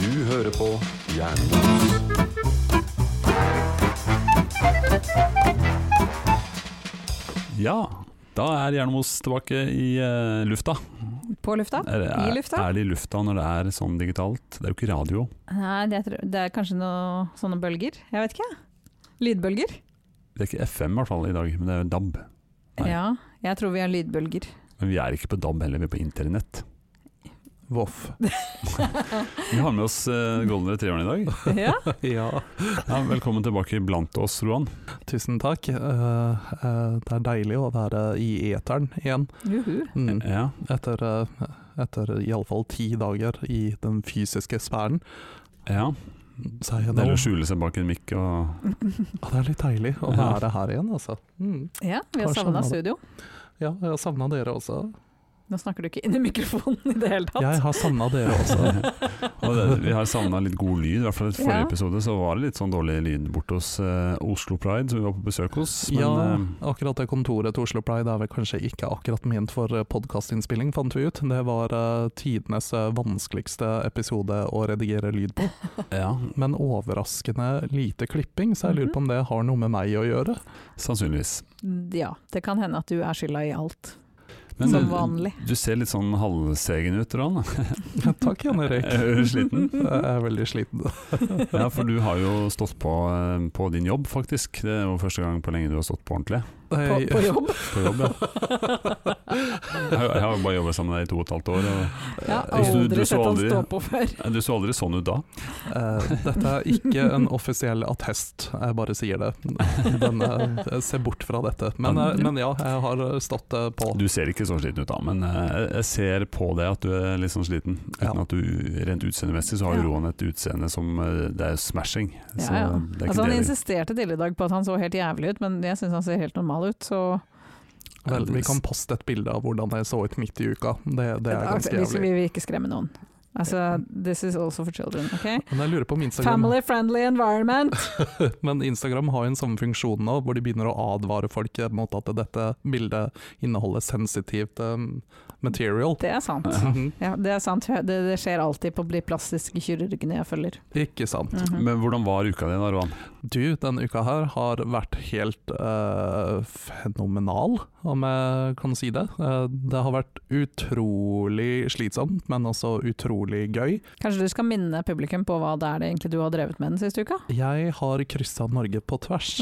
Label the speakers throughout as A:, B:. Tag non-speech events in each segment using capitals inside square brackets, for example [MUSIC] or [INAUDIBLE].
A: Du hører på Jernbanen.
B: Ja, da er Jernmos tilbake i eh, lufta.
C: På lufta?
B: Er, det-
C: I lufta?
B: Er det i lufta når det er sånn digitalt? Det er jo ikke radio.
C: Nei, det, jeg tror, det er kanskje noen sånne bølger. Jeg vet ikke. jeg. Lydbølger?
B: Det er ikke FM i hvert fall i dag, men det er DAB. Nei.
C: Ja, jeg tror vi har
A: [LAUGHS]
C: lydbølger.
B: Men vi er ikke på DAB heller, vi er på internett.
A: Voff.
B: Vi har med oss eh, Golden Retrieveren i dag.
C: Ja,
A: Ja,
B: Ja, velkommen tilbake blant oss, Roan.
A: tusen takk. Eh, eh, det er deilig å være i eteren igjen.
C: Juhu.
A: Mm.
B: Ja,
A: Etter, uh, etter iallfall ti dager i den fysiske sfæren.
B: ja.
A: Så er jeg
B: Det
A: nå
B: er å skjule seg bak en mikk og
A: Ja, det er litt deilig å
B: Ja.
A: være her igjen, altså. Mm.
C: ja vi har
A: Kanskje han
C: savna
A: hadde-
C: studio.
A: Ja, jeg har savna dere også.
C: Nå snakker du ikke inn i mikrofonen i det hele tatt.
A: Jeg har savna dere også. [LAUGHS]
B: og det, Vi har savna litt god lyd. I hvert fall i forrige
C: Ja.
B: episode så var det litt sånn dårlig lyd borte hos eh, Oslo Pride, som vi var på besøk hos. [LAUGHS] Men
A: ja,
B: eh,
A: akkurat det kontoret til Oslo Pride er vel kanskje ikke akkurat ment for podkastinnspilling, fant vi ut. Det var eh, tidenes eh, vanskeligste episode å redigere lyd på,
B: eh, ja,
A: men overraskende lite klipping, så jeg
C: Mhm.
A: lurer på om det har noe med meg å gjøre. [LAUGHS]
B: sannsynligvis.
C: Ja, det kan hende at du er skylda i alt.
B: Men
C: Som
B: du-
C: vanlig.
B: Du ser litt sånn halvsegen ut, Ron.
A: Takk, Jan Erik.
B: [LAUGHS]
C: Eh,
B: Er du
C: [LAUGHS]
B: sliten?
A: Jeg
C: mhm.
A: er veldig sliten. [LAUGHS]
B: Ja, for du har jo stått på eh, på din jobb, faktisk. Det er jo første gang på lenge du har stått på ordentlig.
C: På,
A: Jeg-
C: på
A: [LAUGHS]
C: jobb.
B: På jobb, ja. Jeg har- jeg har jo bare jobba sammen med deg i to og et halvt år. Og
C: Jeg har
B: Hvis du- du
C: aldri
B: så
C: sett han
B: aldri-
C: stå på før.
B: Eh, du så aldri sånn ut da.
A: Eh, dette er ikke en offisiell attest, jeg bare sier det. [LAUGHS] Den, eh, se bort fra dette. Men, eh, men ja, jeg har stått eh, på.
B: Du ser ikke så sliten ut da, men eh, jeg ser på deg at du er litt sånn sliten. Uten
A: Ja.
B: at du rent utseendemessig så har jo
C: Ja.
B: Roan et utseende som eh, Det er smashing. Så
C: Ja, ja.
B: det er ikke
C: Altså, han
B: det.
C: insisterte tidligere i dag på at han så helt jævlig ut, men jeg syns han ser helt normal ut, så
A: Vel, vi kan poste et bilde av hvordan jeg så ut midt i uka. Det, det er ganske
C: altså, Hvis vi
A: jævlig.
C: vil ikke skremme noen. Altså, this is also for children, ok?
A: Men jeg lurer på om Instagram,
C: Family friendly environment!
A: [LAUGHS] men Instagram har jo en sånn funksjon nå, hvor de begynner å advare folk eh, mot at dette bildet inneholder sensitivt eh, material.
C: Det er sant.
A: Mhm.
C: Ja, det er sant. Det, det skjer alltid på de plastiske kirurgene jeg følger.
A: [LAUGHS] Ikke sant.
C: Mhm.
B: Men hvordan var uka di da, Roan?
A: Du, denne uka her har vært helt eh, fenomenal, om jeg kan si det. Eh, det har vært utrolig slitsomt, men også utrolig gøy.
C: Kanskje du skal minne publikum på hva det er det egentlig du har drevet med den siste uka?
A: Jeg har kryssa Norge på tvers.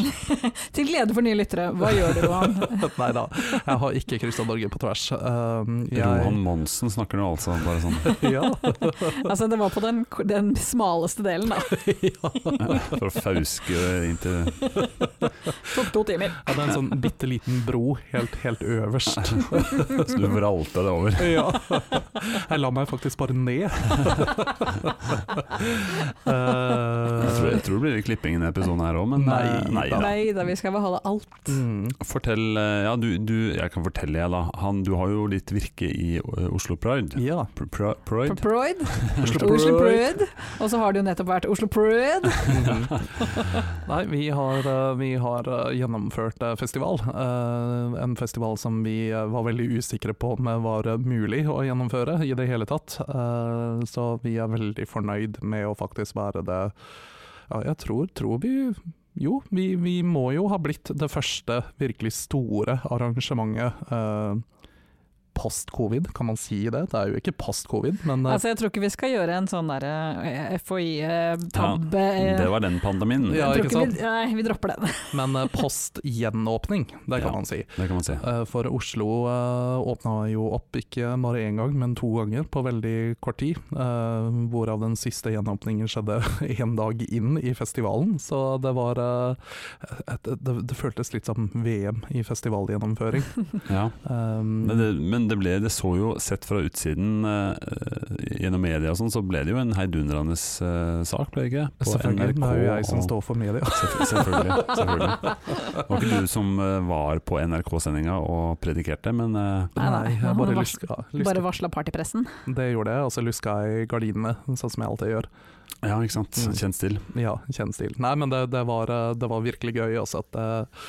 C: Til glede for nye lyttere, [LAUGHS] hva gjør du, Johan?
A: Nei da, jeg har ikke kryssa Norge på tvers. Eh,
B: Roan Monsen snakker nå altså, bare sånn
A: [LAUGHS] ja.
C: [LAUGHS] Altså, det var på den, den smaleste delen, da.
B: for å fauske inn til
C: Tok to timer.
A: ja, det er en sånn bitte liten bro helt, helt øverst.
B: [LAUGHS]
A: [LAUGHS]
B: Så du vralta deg over.
A: ja. Jeg la meg faktisk bare
B: [LAUGHS]
A: ned.
B: Jeg tror,
A: uh,
B: jeg tror det blir litt klipping i denne episoden her òg, men
A: Nei.
B: eh, nei da.
C: Nei da, vi skal beholde alt.
A: mm.
B: Fortell eh, Ja, du, du Jeg kan fortelle, jeg, da. Han, du har jo ditt virke i eh, Oslo Pride.
A: Ja.
B: Pr- Pr Pride?
C: Proid,
A: Oslo
C: Oslo
A: Pride.
C: Pride, og så har det jo nettopp vært Oslo Pride.
A: Mhm. Nei, vi har, eh, vi har eh, gjennomført eh, festival. Eh, En festival som vi eh, var veldig usikre på om eh, var eh, mulig å gjennomføre i det hele tatt. Eh, Så vi er veldig fornøyd med å faktisk være det Ja, jeg tror, tror vi jo, vi, vi må jo ha blitt det første virkelig store arrangementet eh, post-covid, kan man si det? Det er jo ikke post-covid, men eh,
C: Altså, jeg tror ikke vi skal gjøre en sånn derre FHI-tabbe.
B: Det var den pandemien,
A: Ja,
C: jeg tror
A: ikke
C: ikke vi, nei, vi dropper den.
A: men eh, post-gjenåpning, det
B: Ja.
A: kan man si.
B: det kan man si.
A: Eh, For Oslo eh, åpna jo opp ikke bare én gang, men to ganger på veldig kort tid. eh, Hvorav den siste gjenåpningen skjedde [LAUGHS] én dag inn i festivalen. Så det var eh, et- et- Det, det føltes litt som VM i festivalgjennomføring.
B: Ja.
A: Um,
B: Men, det, men det ble Det så jo, sett fra utsiden eh, eh, gjennom media og sånn, så ble det jo en heidundrende eh, sak, ble det ikke? På
A: selvfølgelig, det er jo jeg som
B: og-
A: står for media.
B: [LAUGHS] Selvfø- Selvfølgelig.
A: [LAUGHS]
B: selvfølgelig. Det var ikke du som eh, var på NRK-sendinga og predikerte, men eh,
A: [LAUGHS]
C: Nei, nei,
A: jeg
C: han
A: bare
C: var-
A: luska,
C: Bare
A: luska.
C: varsla partypressen.
A: Det gjorde jeg, og så luska jeg i gardinene, sånn som jeg alltid gjør.
B: Ja, ikke sant.
A: Mm.
B: Kjent stil.
A: altså, Ja, kjenn stil. Nei, men det, det, var, eh, det var virkelig gøy også at eh,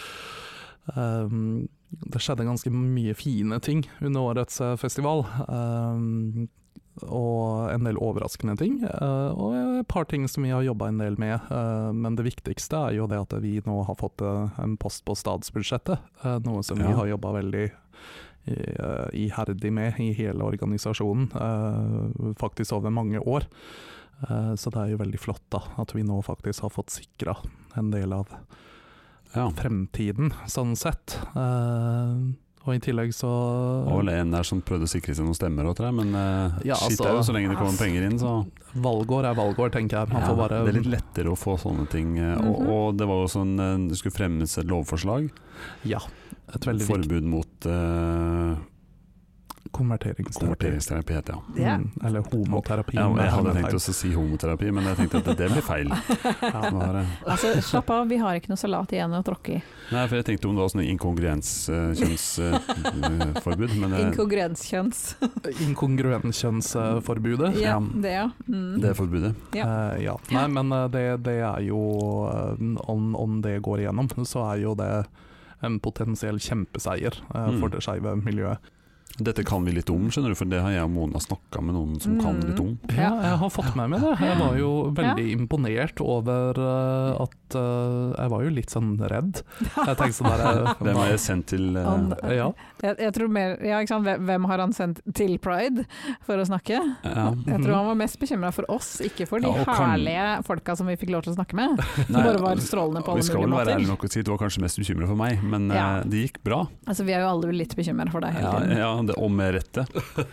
A: Ehm, det skjedde ganske mye fine ting under årets eh, festival. Ehm, og en del overraskende ting, eh, og et par ting som vi har jobba en del med. Eh, men det viktigste er jo det at vi nå har fått eh, en post på statsbudsjettet, eh, noe som
B: Ja.
A: vi har jobba veldig eh, iherdig med i hele organisasjonen, eh, faktisk over mange år. Eh, Så det er jo veldig flott da, at vi nå faktisk har fått sikra en del av
B: Ja.
A: fremtiden, sånn sett. Eh, og i tillegg så
B: Det var vel en der som prøvde å sikre seg noen stemmer, og tror jeg, men eh,
A: Ja,
B: shit
A: altså-
B: er jo så lenge det kommer penger inn, så
A: Valgår er valgår, tenker jeg. Man
B: Ja,
A: får bare
B: Det er litt lettere å få sånne ting. eh, og,
C: Mhm.
B: og det var jo også en eh, Det skulle fremmes et lovforslag.
A: Ja. Et veldig viktig
B: Forbud mot uh,
A: konverteringsterapi.
B: konverteringsterapi, heter det.
C: Det er-
A: Mm, eller homoterapi.
B: Ja,
A: med
B: jeg hadde
A: hermetegn.
B: tenkt også å si homoterapi, men jeg tenkte at det, det blir
C: [LAUGHS]
B: feil.
A: [LAUGHS] Ja.
B: Nå har jeg-
C: Altså, slapp av, vi har ikke noe salat igjen å tråkke i.
B: Nei, for jeg tenkte om det var sånn eh, inkongruenskjønnsforbud, eh, men det,
C: Inkongruenskjønns.
A: Inkongruenskjønnsforbudet.
B: Ja.
C: Ja, det, ja. Mm.
B: det er forbudet.
A: Ja. ja. Nei, men eh, det, det er jo eh, om, om det går igjennom, [LAUGHS] så er jo det en potensiell kjempeseier eh,
B: Mm.
A: for det skeive miljøet.
B: Dette kan vi litt om, skjønner du, for det har jeg og Mona snakka med noen som kan litt om.
A: Ja, jeg har fått med meg det. Jeg var jo veldig imponert over eh, at eh, Jeg var jo litt sånn redd. Jeg tenkte sånn der eh,
B: Den var jeg sendt til eh,
C: Om-
A: Ja.
C: Jeg, jeg tror mer, ja, ikke sant? Hvem- Hvem har han sendt til Pride for å snakke?
B: ja.
C: Jeg
A: Mhm.
C: tror han var mest bekymra for oss, ikke for de
B: Ja, og kan-
C: herlige folka som vi fikk lov til å
B: [LAUGHS]
C: snakke med. Som
B: Nei,
C: [LAUGHS] bare var strålende på
B: Vi
C: alle
B: skal vel
C: mulige
B: være ærlige
C: måter.
B: nok å si at du var kanskje mest bekymra for meg, men
C: Ja.
B: eh, det gikk bra.
C: Altså, vi er jo alle litt bekymra for deg hele
B: Ja,
C: tiden.
B: ja, det, og med
C: [LAUGHS]
B: rette.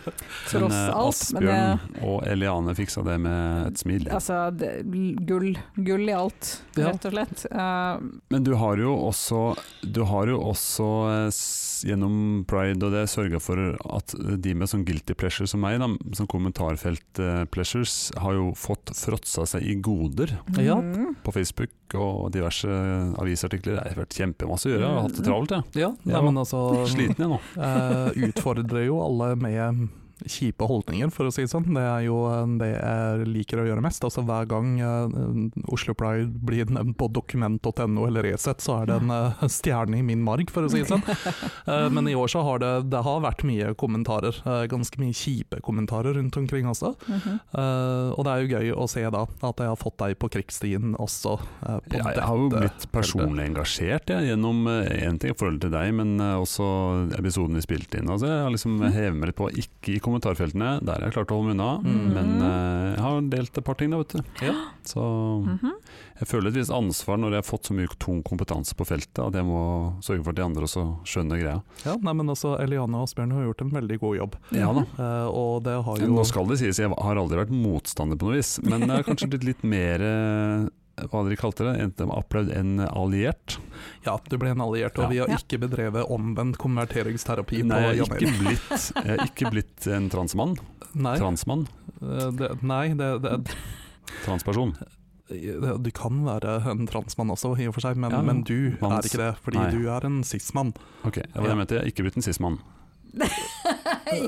B: Men,
C: Tross
B: eh,
C: alt. Men det,
B: Asbjørn og Eliane fiksa det med et smil.
C: altså, det, gull, gull i alt,
A: Ja.
C: rett og slett. Eh,
B: Men du har jo også, du har jo også eh, s- gjennom Pride og det sørga for at de med sånn guilty pleasure som meg, da, som kommentarfelt eh, pleasures, har jo fått fråtsa seg i goder
A: Ja.
C: mm.
B: på Facebook og diverse eh, avisartikler. Det har vært kjempemasse å gjøre, jeg har hatt det travelt jeg.
A: ja. Nei,
B: Ja.
A: men altså
B: Sliten jeg nå.
A: eh, Utfordrer jo alle med kjipe holdninger, for å si det sånn. Det er jo eh, det jeg liker å gjøre mest. Altså Hver gang eh, Oslo Pride blir nevnt på dokument.no eller Resett, så er det en eh, stjerne i min marg, for å si det sånn. Eh, Men i år så har det, det har vært mye kommentarer. eh, Ganske mye kjipe kommentarer rundt omkring også.
C: Mhm.
A: Eh, og det er jo gøy å se da at jeg har fått deg på krigsstien også. eh, på
B: Jeg, jeg har jo
A: dette.
B: blitt personlig engasjert jeg, gjennom én ting i forhold til deg, men eh, også episoden vi spilte inn. Altså, jeg har liksom hevet meg litt på, ikke i kommentarfeltene, der har jeg klart å holde meg unna.
A: Mm.
B: Men eh, jeg har delt et par ting, da, vet du.
A: Ja.
B: Så Mm.
C: Mhm.
B: jeg føler et visst ansvar når jeg har fått så mye tung kompetanse på feltet, at jeg må sørge for at de andre også skjønner greia.
A: Ja, nei, men altså, Eliane og Asbjørn har gjort en veldig god jobb.
B: Ja da.
A: Eh, og det har jo
B: Nå skal det sies, jeg har aldri vært motstander på noe vis, men jeg har kanskje blitt litt mer eh, hva dere kalte det, enten applaud enn alliert.
A: Ja, du ble en alliert, og
B: Ja.
A: vi har
C: Ja.
A: ikke bedrevet omvendt konverteringsterapi
B: Nei,
A: på
B: jeg
A: Jan
B: har
A: Erik.
B: ikke blitt, jeg har ikke blitt en transmann.
A: Nei,
B: Transmann.
A: eh, det, nei det, det,
B: Transperson.
A: det, du kan være en transmann også, i og for seg, men,
B: Ja,
A: men du
B: mans-
A: er ikke det, fordi
B: nei.
A: du er en cis-mann.
B: Ok, det var det jeg mente. Jeg har ikke blitt en cis-mann.
C: [LAUGHS]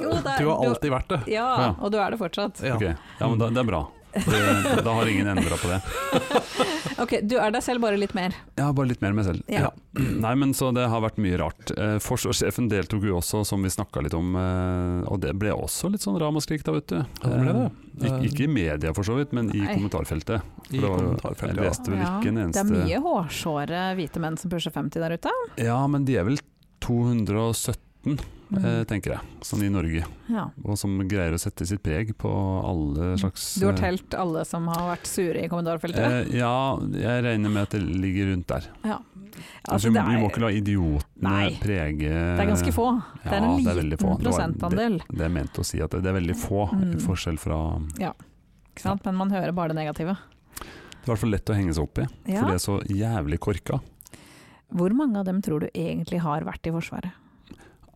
C: jo, det er-
A: Du har alltid vært det.
C: ja,
B: Ja.
C: og du er det fortsatt.
A: Ja.
B: Ok, Ja, men da, det er bra. Det, da har ingen endra på det.
C: Ok, du er deg selv bare litt mer.
B: Jeg har bare litt mer meg selv.
C: Ja.
B: Nei, men så det har vært mye rart. Eh, forsvarssjefen deltok jo også, som vi snakka litt om, eh, og det ble også litt sånn ramaskrik da, vet du.
A: Ja, det ble det.
B: Eh, Ik ikke i media for så vidt, men i
C: Nei.
B: kommentarfeltet.
A: I
B: det var jo- jeg
A: kommentarfeltet. Ja.
B: leste- Det er vel ikke en
C: Det er
B: eneste-
C: mye hårsåre hvite menn som pusher 50 der ute.
B: Ja, men de er vel 217, eh,
C: Mm.
B: tenker jeg, sånn i Norge.
C: Ja.
B: Og som greier å sette sitt preg på alle slags
C: Mm. Du har
B: eh,
C: telt alle som har vært sure i kommentarfeltet?
B: Eh, ja, jeg regner med at det ligger rundt der.
C: Altså,
B: Altså,
C: det,
B: vi må
C: er,
B: ikke la idiotene
C: Nei.
B: prege
C: det er ganske få. Det er
B: Ja,
C: en
B: det er
C: liten
B: veldig få. Det var-
C: prosentandel.
B: Det er ment å si at det, det er veldig få
C: Mm.
B: i forskjell fra
C: Ikke sant? Men man hører bare det negative.
B: Det er i hvert fall lett å henge seg opp i,
C: Ja.
B: for det er så jævlig korka
C: Hvor mange av dem tror du egentlig har vært i Forsvaret?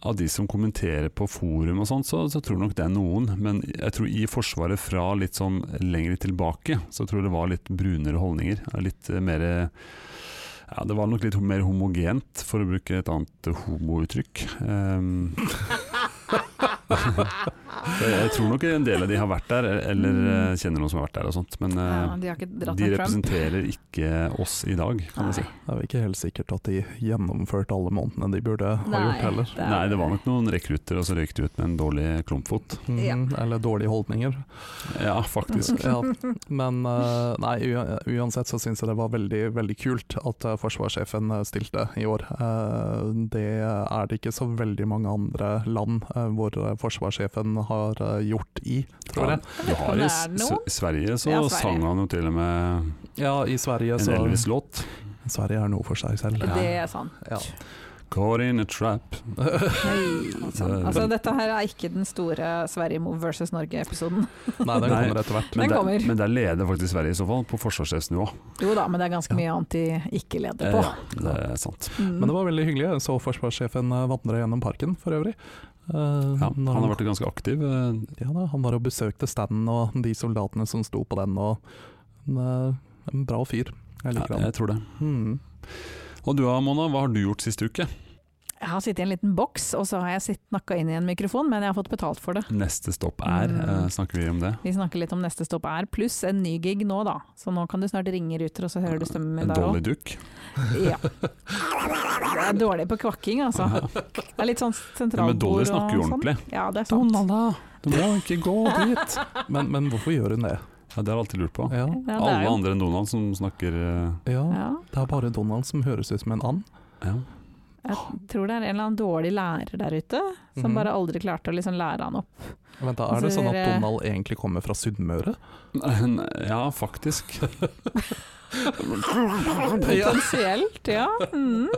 B: av de som kommenterer på forum og sånt, så, så tror jeg nok det er noen. Men jeg tror i Forsvaret fra litt sånn lengre tilbake, så tror jeg det var litt brunere holdninger. Litt eh, mer ja, Det var nok litt mer homogent, for å bruke et annet homouttrykk. Ehm, [LAUGHS] Så jeg tror nok en del av de har vært der, eller eh, kjenner noen som har vært der og sånt. Men eh,
C: Mm. Ja, de har ikke dratt
B: de
C: den fram.
B: representerer ikke oss i dag, kan
C: Nei.
B: jeg si.
A: Det er jo ikke helt sikkert at de gjennomførte alle månedene de burde ha
C: Nei,
A: gjort heller.
C: er-
B: Nei, det var nok noen rekrutter, og så røyk de ut med en dårlig klumpfot.
C: Ja.
A: Mhm, Eller dårlige holdninger.
B: Ja, faktisk.
A: Ja.
B: [LAUGHS]
A: Men eh, nei, ua- uansett så syns jeg det var veldig, veldig kult at eh, forsvarssjefen eh, stilte i år. Eh, Det er det ikke så veldig mange andre land eh, hvor eh, forsvarssjefen har eh, gjort i, tror
B: Ja,
A: jeg.
B: du har i
C: Det
B: S
C: er noe.
B: S- Sverige så
C: Ja, Sverige.
B: sang han jo til og med
A: Ja, i Sverige
B: en
A: så
B: Elvis-låt.
A: Sverige er noe for seg selv.
C: Det er sant.
B: [LAUGHS]
A: Ja.
B: Caught in a trap.
C: Nei, sant. Altså, dette her er ikke den store Sverige versus Norge-episoden.
A: Nei, den
B: Nei.
A: kommer etter hvert.
C: Den
B: Men der,
C: kommer.
B: men der leder faktisk Sverige i så fall, på forsvarssjefsnivå.
C: Jo da, men det er ganske mye annet de ikke
B: Eh,
C: leder på.
B: ja, det er sant.
C: Mm.
A: Men det var veldig hyggelig. Jeg så forsvarssjefen eh, vandre gjennom parken for øvrig. Eh,
B: Ja, han
A: når
B: har vært ganske aktiv. eh,
A: Ja da, han var og besøkte standen og de soldatene som sto på den, og en, eh, en bra fyr. Jeg
B: Ja,
A: liker han.
B: jeg tror det.
A: Mm.
B: Og du Mona, hva har du gjort siste uke?
C: Jeg har sittet i en liten boks, og så har jeg snakka inn i en mikrofon, men jeg har fått betalt for det.
B: Neste stopp er,
C: Mm.
B: eh, snakker vi om det?
C: Vi snakker litt om neste stopp er, pluss en ny gig nå, da. Så nå kan du snart ringe ruter, og så hører du stemmen min
B: En
C: der
B: Dolly
C: òg.
B: Duck?
C: Ja. Jeg er dårlig på kvakking, [LAUGHS] altså. Det er litt sånn
B: Ja, men Dolly
C: sentralbord og
B: snakker jo
C: sånn.
B: ordentlig.
C: Ja, det er sant.
B: Donald, du må ikke gå dit!
A: [LAUGHS] Men, men hvorfor gjør hun det?
B: Ja, det har jeg alltid lurt på.
A: Ja.
C: Ja, det er
B: Alle
C: jo.
B: andre enn Donald som snakker eh,
A: ja,
C: Ja,
A: det er bare Donald som høres ut som en and.
B: ja. [LAUGHS]
C: jeg tror det er en eller annen dårlig lærer der ute, som
A: Mhm.
C: bare aldri klarte å liksom lære han opp.
A: Vent da, Er det
C: Altså,
A: sånn at
C: dere-
A: Donald egentlig kommer fra Sunnmøre?
B: Nei, ja,
C: [LAUGHS]
B: faktisk. [LAUGHS]
C: Potensielt, ja. Mm.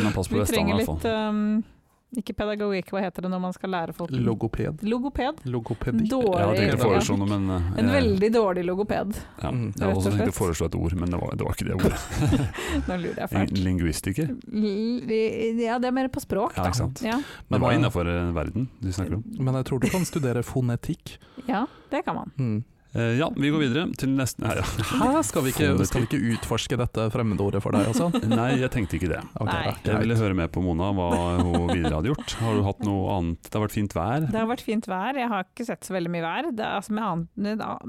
B: En av pass på
C: Vi trenger
B: Vestlandet i hvert
C: litt
B: fall.
C: um, Ikke pedagogikk, hva heter det når man skal lære folk
A: Logoped?
C: Logoped.
A: Logopedikk?
B: Jeg hadde
C: Dårlig
B: tenkt å foreslå noe, men eh,
C: eh, En
B: jeg-
C: veldig dårlig logoped.
B: ja,
A: Mm,
B: Jeg hadde
C: rett
B: også
C: og
B: tenkt å
C: slett.
B: foreslå et ord, men det var, det var ikke det ordet.
C: Nå lurer jeg
B: En
C: fælt.
B: lingvistiker?
C: L- Ja, det er mer på språk,
B: Ja,
C: da.
B: ikke sant.
C: Ja.
B: Det
A: Men,
B: var
A: eh,
B: innafor verden du snakker om.
A: Men eh, jeg tror du kan studere fonetikk.
C: ja, det kan man.
A: Mm.
B: Eh, ja, vi går videre til neste Nei, ja.
A: Hæ, skal vi, ikke, skal vi ikke utforske dette fremmedordet for deg
C: [LAUGHS]
A: også?
B: [LAUGHS] Nei, jeg tenkte ikke det.
A: Ok,
C: Nei.
A: da,
B: Jeg ville
A: greit.
B: høre med på Mona hva hun videre hadde gjort. Har du hatt noe annet? Det har vært fint vær.
C: Det har vært fint vær, jeg har ikke sett så veldig mye vær. Det er altså med annet,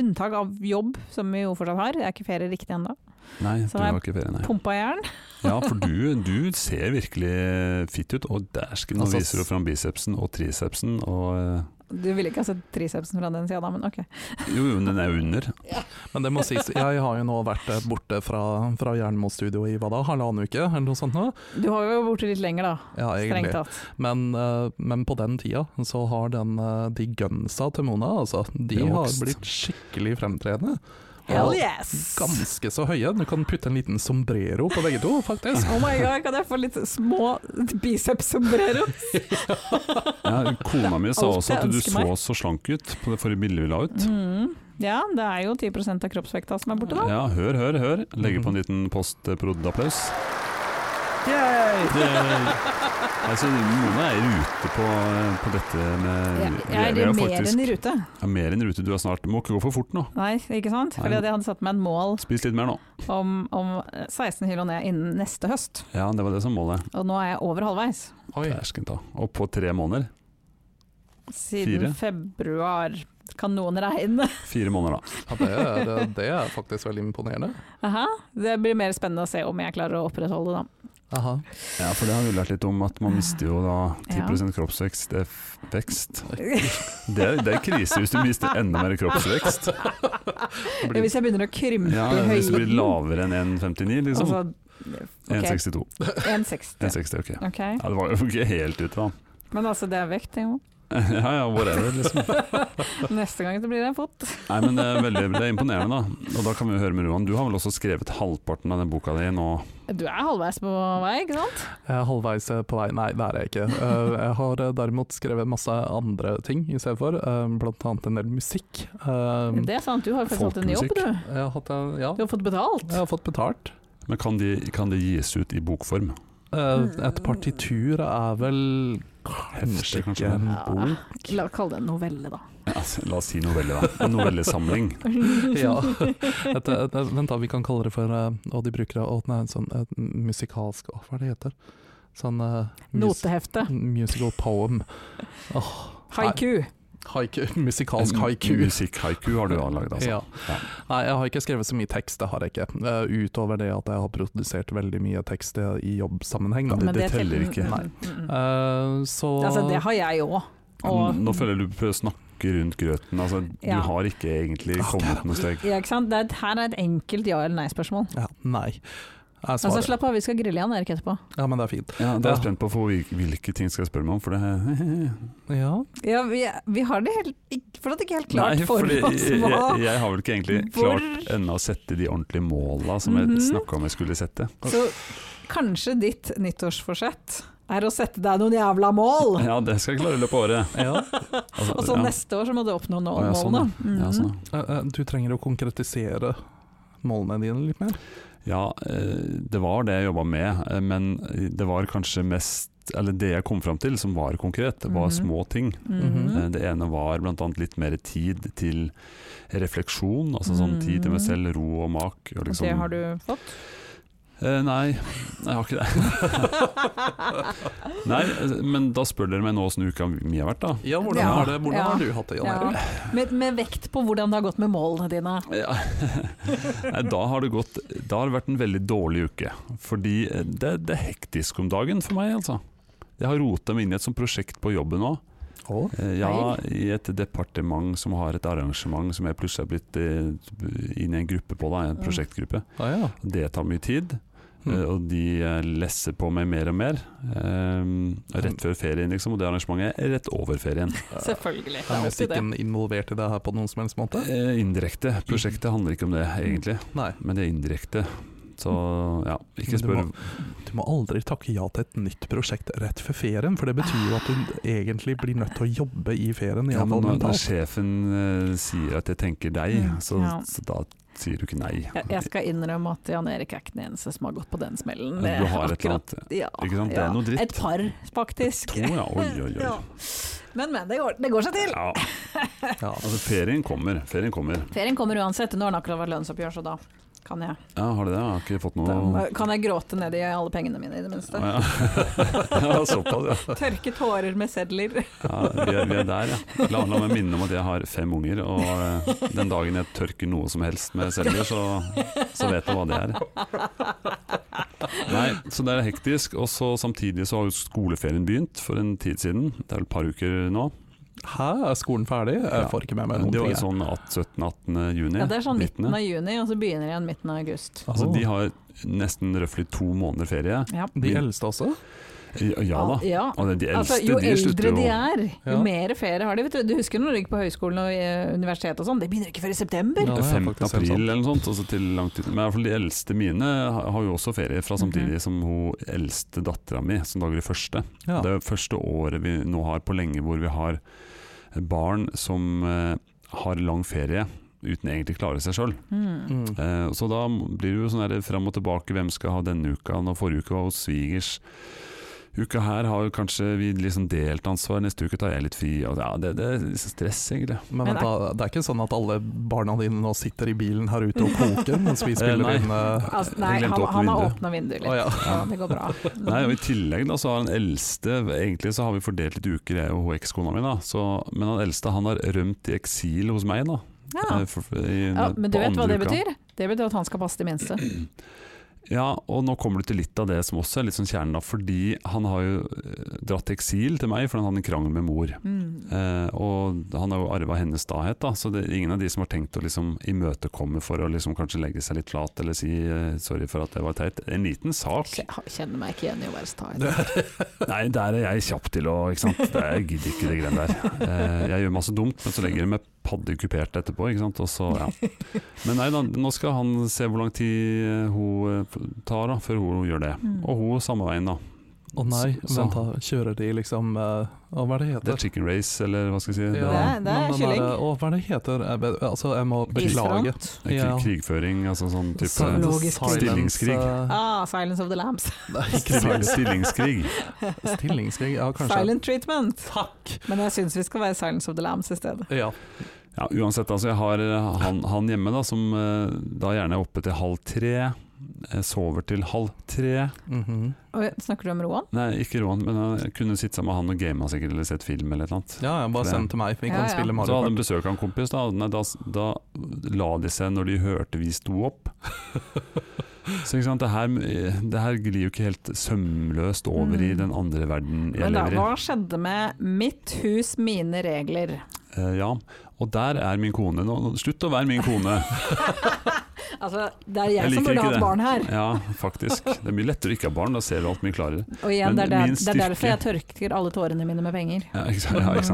C: unntak av jobb, som vi jo fortsatt har. Det er ikke ferie riktig ennå.
B: Nei, du
C: Så har jeg
B: har ikke ferie, nei.
C: Pumpa jern.
B: Ja, for du, du ser virkelig fit ut, og dæsken, nå
A: Altså,
B: viser du fram bicepsen og tricepsen og eh,
C: Du ville ikke ha sett tricepsen fra den sida da, men ok.
B: Jo, jo, men den er jo under.
A: Men det må sies, jeg har jo nå vært eh, borte fra, fra Jernmo-studio i hva da, halvannen uke eller noe sånt nå?
C: Du har jo vært borte litt lenger da,
A: Ja,
C: strengt
A: egentlig.
C: tatt.
A: Men, eh, men på den tida så har den, eh, de gunsa til Mona, altså, de
B: Det har
A: har
B: vokst.
A: blitt skikkelig fremtredende.
C: Hell
A: Og
C: yes!
A: Ganske så høye. Du kan putte en liten sombrero på begge to, faktisk.
C: Oh my god, kan jeg få litt små
B: [LAUGHS]
C: biceps-sombrero? [LAUGHS]
B: Ja, kona mi sa
C: Alt
B: også at
C: jeg
B: du så
C: ønsker meg.
B: så slank ut på det forrige bildet vi la ut.
C: Mm. Ja, det er jo 10 av kroppsvekta som er borte, da.
B: Ja, hør, hør, hør.
C: Mhm.
B: Legger på en liten postprod-applaus. Det- Altså, Mona er i rute på, på dette med
C: Jeg,
B: vi-
C: jeg
B: vi
C: er
B: jo
C: mer
B: faktisk-
C: enn i rute.
B: Ja, mer enn i rute. Du er snart Må ikke gå for fort nå.
C: Nei, ikke sant? Fordi
B: Nei.
C: at jeg hadde satt meg et mål
B: Spis litt mer nå.
C: om, om 16 kilo ned innen neste høst,
B: Ja, det var det som målet.
C: og nå er jeg over halvveis.
A: [LAUGHS] Oi.
B: Dæsken ta. Og på tre måneder.
C: Siden
B: Fire.
C: februar. Kan noen regne?
B: Fire måneder, da.
A: Ja, det, er, det er faktisk veldig imponerende.
C: Aha. Det blir mer spennende å se om jeg klarer å opprettholde det, da.
A: Aha.
B: Ja, for det har vi lært litt om, at man mister jo da 10 kroppsvekst. Det er f- vekst. Det er, det er krise hvis du mister enda mer kroppsvekst.
C: [LAUGHS]
A: Blir-
C: Hvis jeg begynner å krympe
B: Ja,
C: i
B: hvis du blir
C: høyden
B: lavere enn 1,59, liksom.
C: altså, ok,
B: 1,62.
C: 1,60.
B: 1,60, ok.
C: Ok.
B: Ja, det var jo ikke helt ute, da. [LAUGHS]
C: Men altså, det er vekt, det er jo.
B: Ja ja, whatever, liksom.
C: Neste gang så blir det en fot.
B: Nei, men det er veldig det er imponerende, da. Og da kan vi jo høre med Roan. Du har vel også skrevet halvparten av den boka di nå?
C: Du er halvveis på vei, ikke sant?
A: Jeg er halvveis eh, på vei, nei det er jeg ikke. Eh, Jeg har eh, derimot skrevet masse andre ting istedenfor, eh, blant annet en del musikk. Eh,
C: Det er sant, du har faktisk hatt en jobb,
B: Folkemusikk.
C: du.
A: Jeg har, hatt, en- ja,
C: Du har fått betalt.
A: jeg har fått betalt.
B: Men kan de- kan det gis ut i bokform?
A: Eh,
C: Mm.
A: Et partitur er vel kanskje
B: Hefte, kanskje.
A: ikke en bok.
C: La oss kalle det en novelle, [LAUGHS] da.
B: Altså, la oss si novelle, da. En novellesamling.
C: [LAUGHS]
A: Ja. Et, et, et, vent, da. Vi kan kalle det for eh, Og de bruker det og, nei, sånn et musikalsk Åh, Hva er det heter? Sånn eh, mus-
C: Notehefte.
A: Musical poem. Åh,
C: Haiku.
A: Haiku, musikalsk
B: En
A: haiku.
B: Musikk-haiku har du anlagd, altså.
A: Ja. Nei, jeg har ikke skrevet så mye tekst, det har jeg ikke. Eh, utover det at jeg har produsert veldig mye tekst eh, i jobbsammenheng. Da.
B: det- det teller
C: til-
B: ikke.
C: Mm,
A: Nei.
C: mm, mm.
A: Eh, så
C: Altså, det har jeg òg. Og-
B: Nå føler jeg du prøver å snakke rundt grøten. Altså, du
C: Ja.
B: har ikke egentlig
A: Ok.
B: kommet noe steg.
C: Ja, ikke sant? Det er, her er et enkelt ja- eller nei-spørsmål.
A: ja, Nei. Jeg svarer.
C: Altså, slapp av, vi skal grille igjen Erik etterpå.
A: ja, men det er fint.
B: Ja, da er
A: Ja.
B: jeg spent på å få hvil- hvilke ting skal jeg spørre meg om, for det
A: Ja.
C: Ja, vi, vi har det helt, ikke- fortsatt ikke helt klart
B: Nei,
C: for
B: fordi
C: oss
B: jeg, jeg,
C: [LAUGHS] hva
B: jeg har vel ikke egentlig
C: Hvor-
B: klart ennå å sette de ordentlige måla som
C: Mhm.
B: jeg snakka om jeg skulle sette.
C: Så kanskje ditt nyttårsforsett er å sette deg noen jævla mål!
B: Ja, det skal jeg klare i løpet av året.
A: ja.
B: Altså,
C: [LAUGHS] Og så
B: ja.
C: neste år så må du oppnå nå-
B: Å, ja, sånn,
C: målene.
B: ja,
C: Mhm.
B: sånn, ja.
A: Eh, eh, Du trenger å konkretisere målene dine litt mer.
B: Ja, eh, det var det jeg jobba med, eh, men det var kanskje mest eller Det jeg kom fram til som var konkret, var
C: Mhm.
B: små ting.
C: Mhm.
B: Eh, Det ene var bl.a. litt mer tid til refleksjon, altså sånn tid til meg selv, ro og mak. Og
C: Mm. Og
B: liksom.
C: det har du fått? [LAUGHS]
B: Eh, nei, jeg har ikke det. nei, eh, men da spør dere meg nå åssen uka mi har vært, da.
A: Ja, hvordan,
C: Ja.
A: Har, det, hvordan
C: Ja.
A: har du hatt det, Jan
C: Ja.
A: Erik?
C: Med, med vekt på hvordan det har gått med målene dine.
B: Ja. [LAUGHS] Nei, da har det gått Da har det vært en veldig dårlig uke. Fordi eh, det, det er hektisk om dagen for meg, altså. Jeg har rota meg inn i et sånt prosjekt på jobben òg.
A: Å,
B: Ja, i et departement som har et arrangement som jeg plutselig har blitt eh, inn i en gruppe på, da, en
C: Mm.
B: prosjektgruppe.
A: ja, Ah, ja.
B: Det tar mye tid,
A: Mm.
B: eh, og de eh, lesser på meg mer og mer. eh,
A: Mm.
B: Rett før ferien, liksom, og det arrangementet er rett over ferien.
C: Selvfølgelig. Det
A: Er
C: er alltid det.
A: musikken involvert i det her på noen som helst måte?
B: Eh, Indirekte.
A: Mm.
B: Prosjektet handler ikke om det, egentlig.
A: Nei.
B: men det er indirekte. Så ja,
A: Men
B: ikke
A: du
B: spør
A: må- Du må aldri takke ja til et nytt prosjekt rett før ferien, for det betyr jo at du egentlig blir nødt til å jobbe i ferien. i
B: ja, men
A: alle fall
B: når, når
A: mentalt.
B: sjefen eh, sier at 'jeg tenker deg',
C: Mm,
B: så,
C: ja.
B: så da sier du ikke nei.
C: Jeg, jeg skal innrømme at Jan Erik er ikke den eneste som har gått på den smellen.
B: Du har et eller
C: Akkurat.
B: annet
C: Ja,
B: Ikke sant? Det er
C: ja.
B: noe dritt.
C: Et par, faktisk.
B: To, ja. Oi, oi, oi.
C: Ja. Men, men, det går, det går seg til.
B: Ja,
A: Ja.
B: altså ferien kommer. Ferien kommer.
C: [LAUGHS] Ferien kommer uansett. Nå har den akkurat vært lønnsoppgjør, så da kan jeg,
B: Ja, har det det? Jeg har ikke fått noe
C: da kan jeg gråte ned i alle pengene mine, i det minste.
B: ja. ja, [LAUGHS] såpass, ja.
C: [LAUGHS] Tørke tårer med sedler.
B: ja vi, er, vi er der, ja. La, la meg minne om at jeg har fem unger, og eh, den dagen jeg tørker noe som helst med selger, så, så vet jeg hva det er. Nei, så det er hektisk. Og så samtidig så har jo skoleferien begynt for en tid siden. Det er vel et par uker nå.
A: Hæ, er skolen ferdig?
B: Ja.
A: Jeg får ikke med meg noen
B: Det var jo
A: ting. jeg.
B: sånn at 17-18. juni.
C: Ja, det er sånn midten
B: 19..
C: av juni, og så begynner igjen midten av august.
B: Altså, de har nesten røftlig to måneder ferie.
C: Ja,
A: De eldste også?
B: Ja, ja da.
C: Ja.
B: Og det er de eldste,
C: Altså, jo
B: de slutter
C: eldre
B: jo
C: de er, jo
A: Ja.
C: mer ferie har de. Vet du. du husker når du gikk på høyskolen og eh, universitet og sånn, det begynner ikke før i september.
A: Ja, det er
B: 15.
A: faktisk helt
B: april
A: sant.
B: eller noe sånt. Altså til langt ut. Men i hvert fall de eldste mine har har jo også ferie fra samtidig som hun eldste dattera mi, som lager det første.
A: Mhm. Ja.
B: Det er jo første året vi nå har på lenge hvor vi har barn som eh, har lang ferie uten egentlig klare seg sjøl.
C: Mm.
A: Mm.
B: Eh, så da blir det jo sånn der fram og tilbake, hvem skal ha denne uka? Nå forrige uke var hos svigers. Uka her har jo kanskje vi liksom delt ansvar, neste uke tar jeg litt fri. Og ja, det, det er stress, egentlig.
A: Men vent, da, det er ikke sånn at alle barna dine nå sitter i bilen her ute og koker mens vi spiller
B: Eh, nei.
A: inn eh,
C: Altså,
B: Jeg
C: nei,
B: glemte
C: han,
B: å åpne
C: han har
B: vinduet.
C: åpna vinduet
A: Å
C: litt.
A: ja.
C: Ja, det går bra.
B: [LAUGHS] Nei, og I tillegg da, så har den eldste Egentlig så har vi fordelt litt uker, jeg og hun ekskona mi. da så, Men han eldste han har rømt i eksil hos meg. da
C: Ja.
B: Eh, for- i-
C: Ja, men
B: på
C: du vet hva
B: andre
C: det
B: uka.
C: betyr? Det betyr at han skal passe de minste.
B: Ja, og nå kommer du til litt av det som også er litt sånn kjernen. da Fordi han har jo eh, dratt til eksil til meg fordi han hadde en krangel med mor.
C: Mm.
B: Eh, og han har jo arva hennes stahet, da, så det er ingen av de som har tenkt å liksom imøtekomme for å liksom kanskje legge seg litt flat eller si eh, 'sorry for at det var teit'. En liten sak.
C: Jeg kjenner meg ikke igjen i å være sta.
B: Nei, der er jeg kjapp til å ikke sant? Det, Jeg gidder ikke de greiene der. Eh,
C: [LAUGHS]
B: jeg gjør masse dumt, men så legger jeg meg paddekupert etterpå. Ikke sant? Og så, ja. Men nei da, nå skal han se hvor lang tid eh, hun eh, tar da, før hun gjør det.
C: Mm.
B: Og hun samme veien, da.
A: Å nei,
B: Så- så-
A: vent da, kjører de liksom eh, Å, hva er det
B: Det er
A: heter?
B: chicken race, eller hva skal jeg si. Det er,
A: Ja,
C: Det er- det er
A: men den der,
C: kylling.
A: Å, hva er det heter? Jeg, vet- altså, jeg må beklage.
C: Isfront.
B: det er
A: Ja.
B: krig- krigføring, altså sånn type
A: Sil-
C: Zoologisk krig.
A: silence, eh,
C: Ah, Silence of the Lambs.
A: [LAUGHS] Nei, ikke
B: Stil-
A: silence.
B: Stillingskrig.
C: [LAUGHS]
A: Stillingskrig, ja kanskje.
C: Silent treatment.
A: Takk!
C: Men jeg syns vi skal være Silence of the Lambs i stedet.
A: Ja.
B: Ja, uansett, altså, jeg har eh, han, han hjemme da, som eh, da gjerne er oppe til halv tre. eh, sover til halv tre.
A: Mhm.
C: Og eh, snakker du om Roan?
B: Nei, ikke Roan, men jeg kunne sitte sammen med han og gama sikkert, eller sett film eller et eller annet.
A: Ja, ja,
B: For
A: bare
B: det-
A: send til meg, vi
C: Ja,
A: kan
C: ja.
A: spille
B: Så
A: Mario
B: hadde
A: Kart.
B: han besøk av en kompis, da, nei, da, da la de seg når de hørte vi sto
C: [LAUGHS]
B: opp. Så ikke sant, det her, eh, det her glir jo ikke helt sømløst over i
C: Mm.
B: den andre verden jeg
C: Men da,
B: lever i.
C: hva skjedde med 'Mitt hus, mine regler'?
B: Eh, ja, og der er min kone. Nå, nå- slutt å være min kone!
C: [LAUGHS] Altså, det er jeg,
B: Jeg
C: som
B: liker
C: burde
B: ikke
C: hatt
B: det.
C: barn her.
B: Ja, faktisk. Det er mye lettere å ikke ha barn, da ser du alt mye klarere.
C: Og igjen,
B: Men
C: det er, der,
B: min
C: det er derfor jeg
B: styrke-
C: tørker alle tårene mine med penger.
B: Ja, ikke sant? Ja, ikke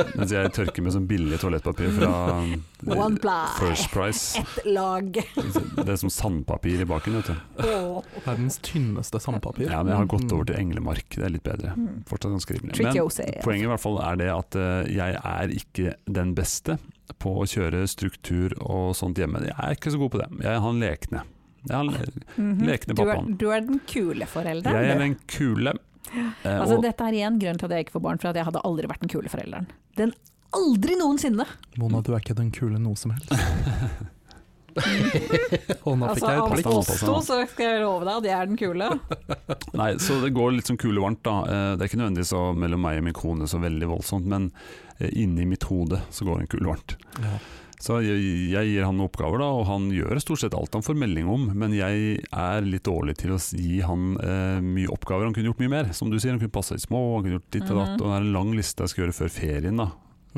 B: sant? Mens jeg tørker med sånn billig toalettpapir fra eh,
C: One ply,
B: First Price.
C: ett lag.
B: Det er som sandpapir i baken, vet du.
C: [LAUGHS] Åh.
A: Verdens tynneste sandpapir. Mhm.
B: Ja, men jeg har gått over til Englemark, det er litt bedre. Fortsatt ganske rimelig. Men
C: Tricky OC.
B: Poenget i hvert fall er det at eh, jeg er ikke den beste på å kjøre struktur og sånt hjemme. Jeg er ikke så god på det. Jeg er han lekne. Jeg er, han-
C: Mhm.
B: lekne
C: du, er,
B: pappaen.
C: du er den kule
B: jeg
C: forelderen.
B: Ah, er
C: du.
B: den kule. Eh,
C: altså,
B: og
C: dette er igjen grunnen til at jeg ikke får barn, for at jeg hadde aldri vært den kule forelderen. Den aldri noensinne!
A: Mona, du er ikke den kule noe som
B: [LAUGHS]
A: helst. Og nå fikk
C: Altså,
A: jeg et
C: av
A: blikk.
B: plikk.
C: oss to så skal jeg love deg at jeg er den kule.
B: [LAUGHS] nei, så det går litt sånn kulevarmt, da. Eh, det er ikke nødvendigvis så, mellom meg og min kone så veldig voldsomt, men eh, inni mitt hode så går det kulevarmt.
A: Ja.
B: Så jeg, jeg gir han oppgaver, da, og han gjør stort sett alt han får melding om. Men jeg er litt dårlig til å s- gi han eh, mye oppgaver. Han kunne gjort mye mer. Som du sier, han kunne passa i små, han kunne gjort ditt og datt.
C: Mhm.
B: Og det er en lang liste jeg skal gjøre før ferien. da.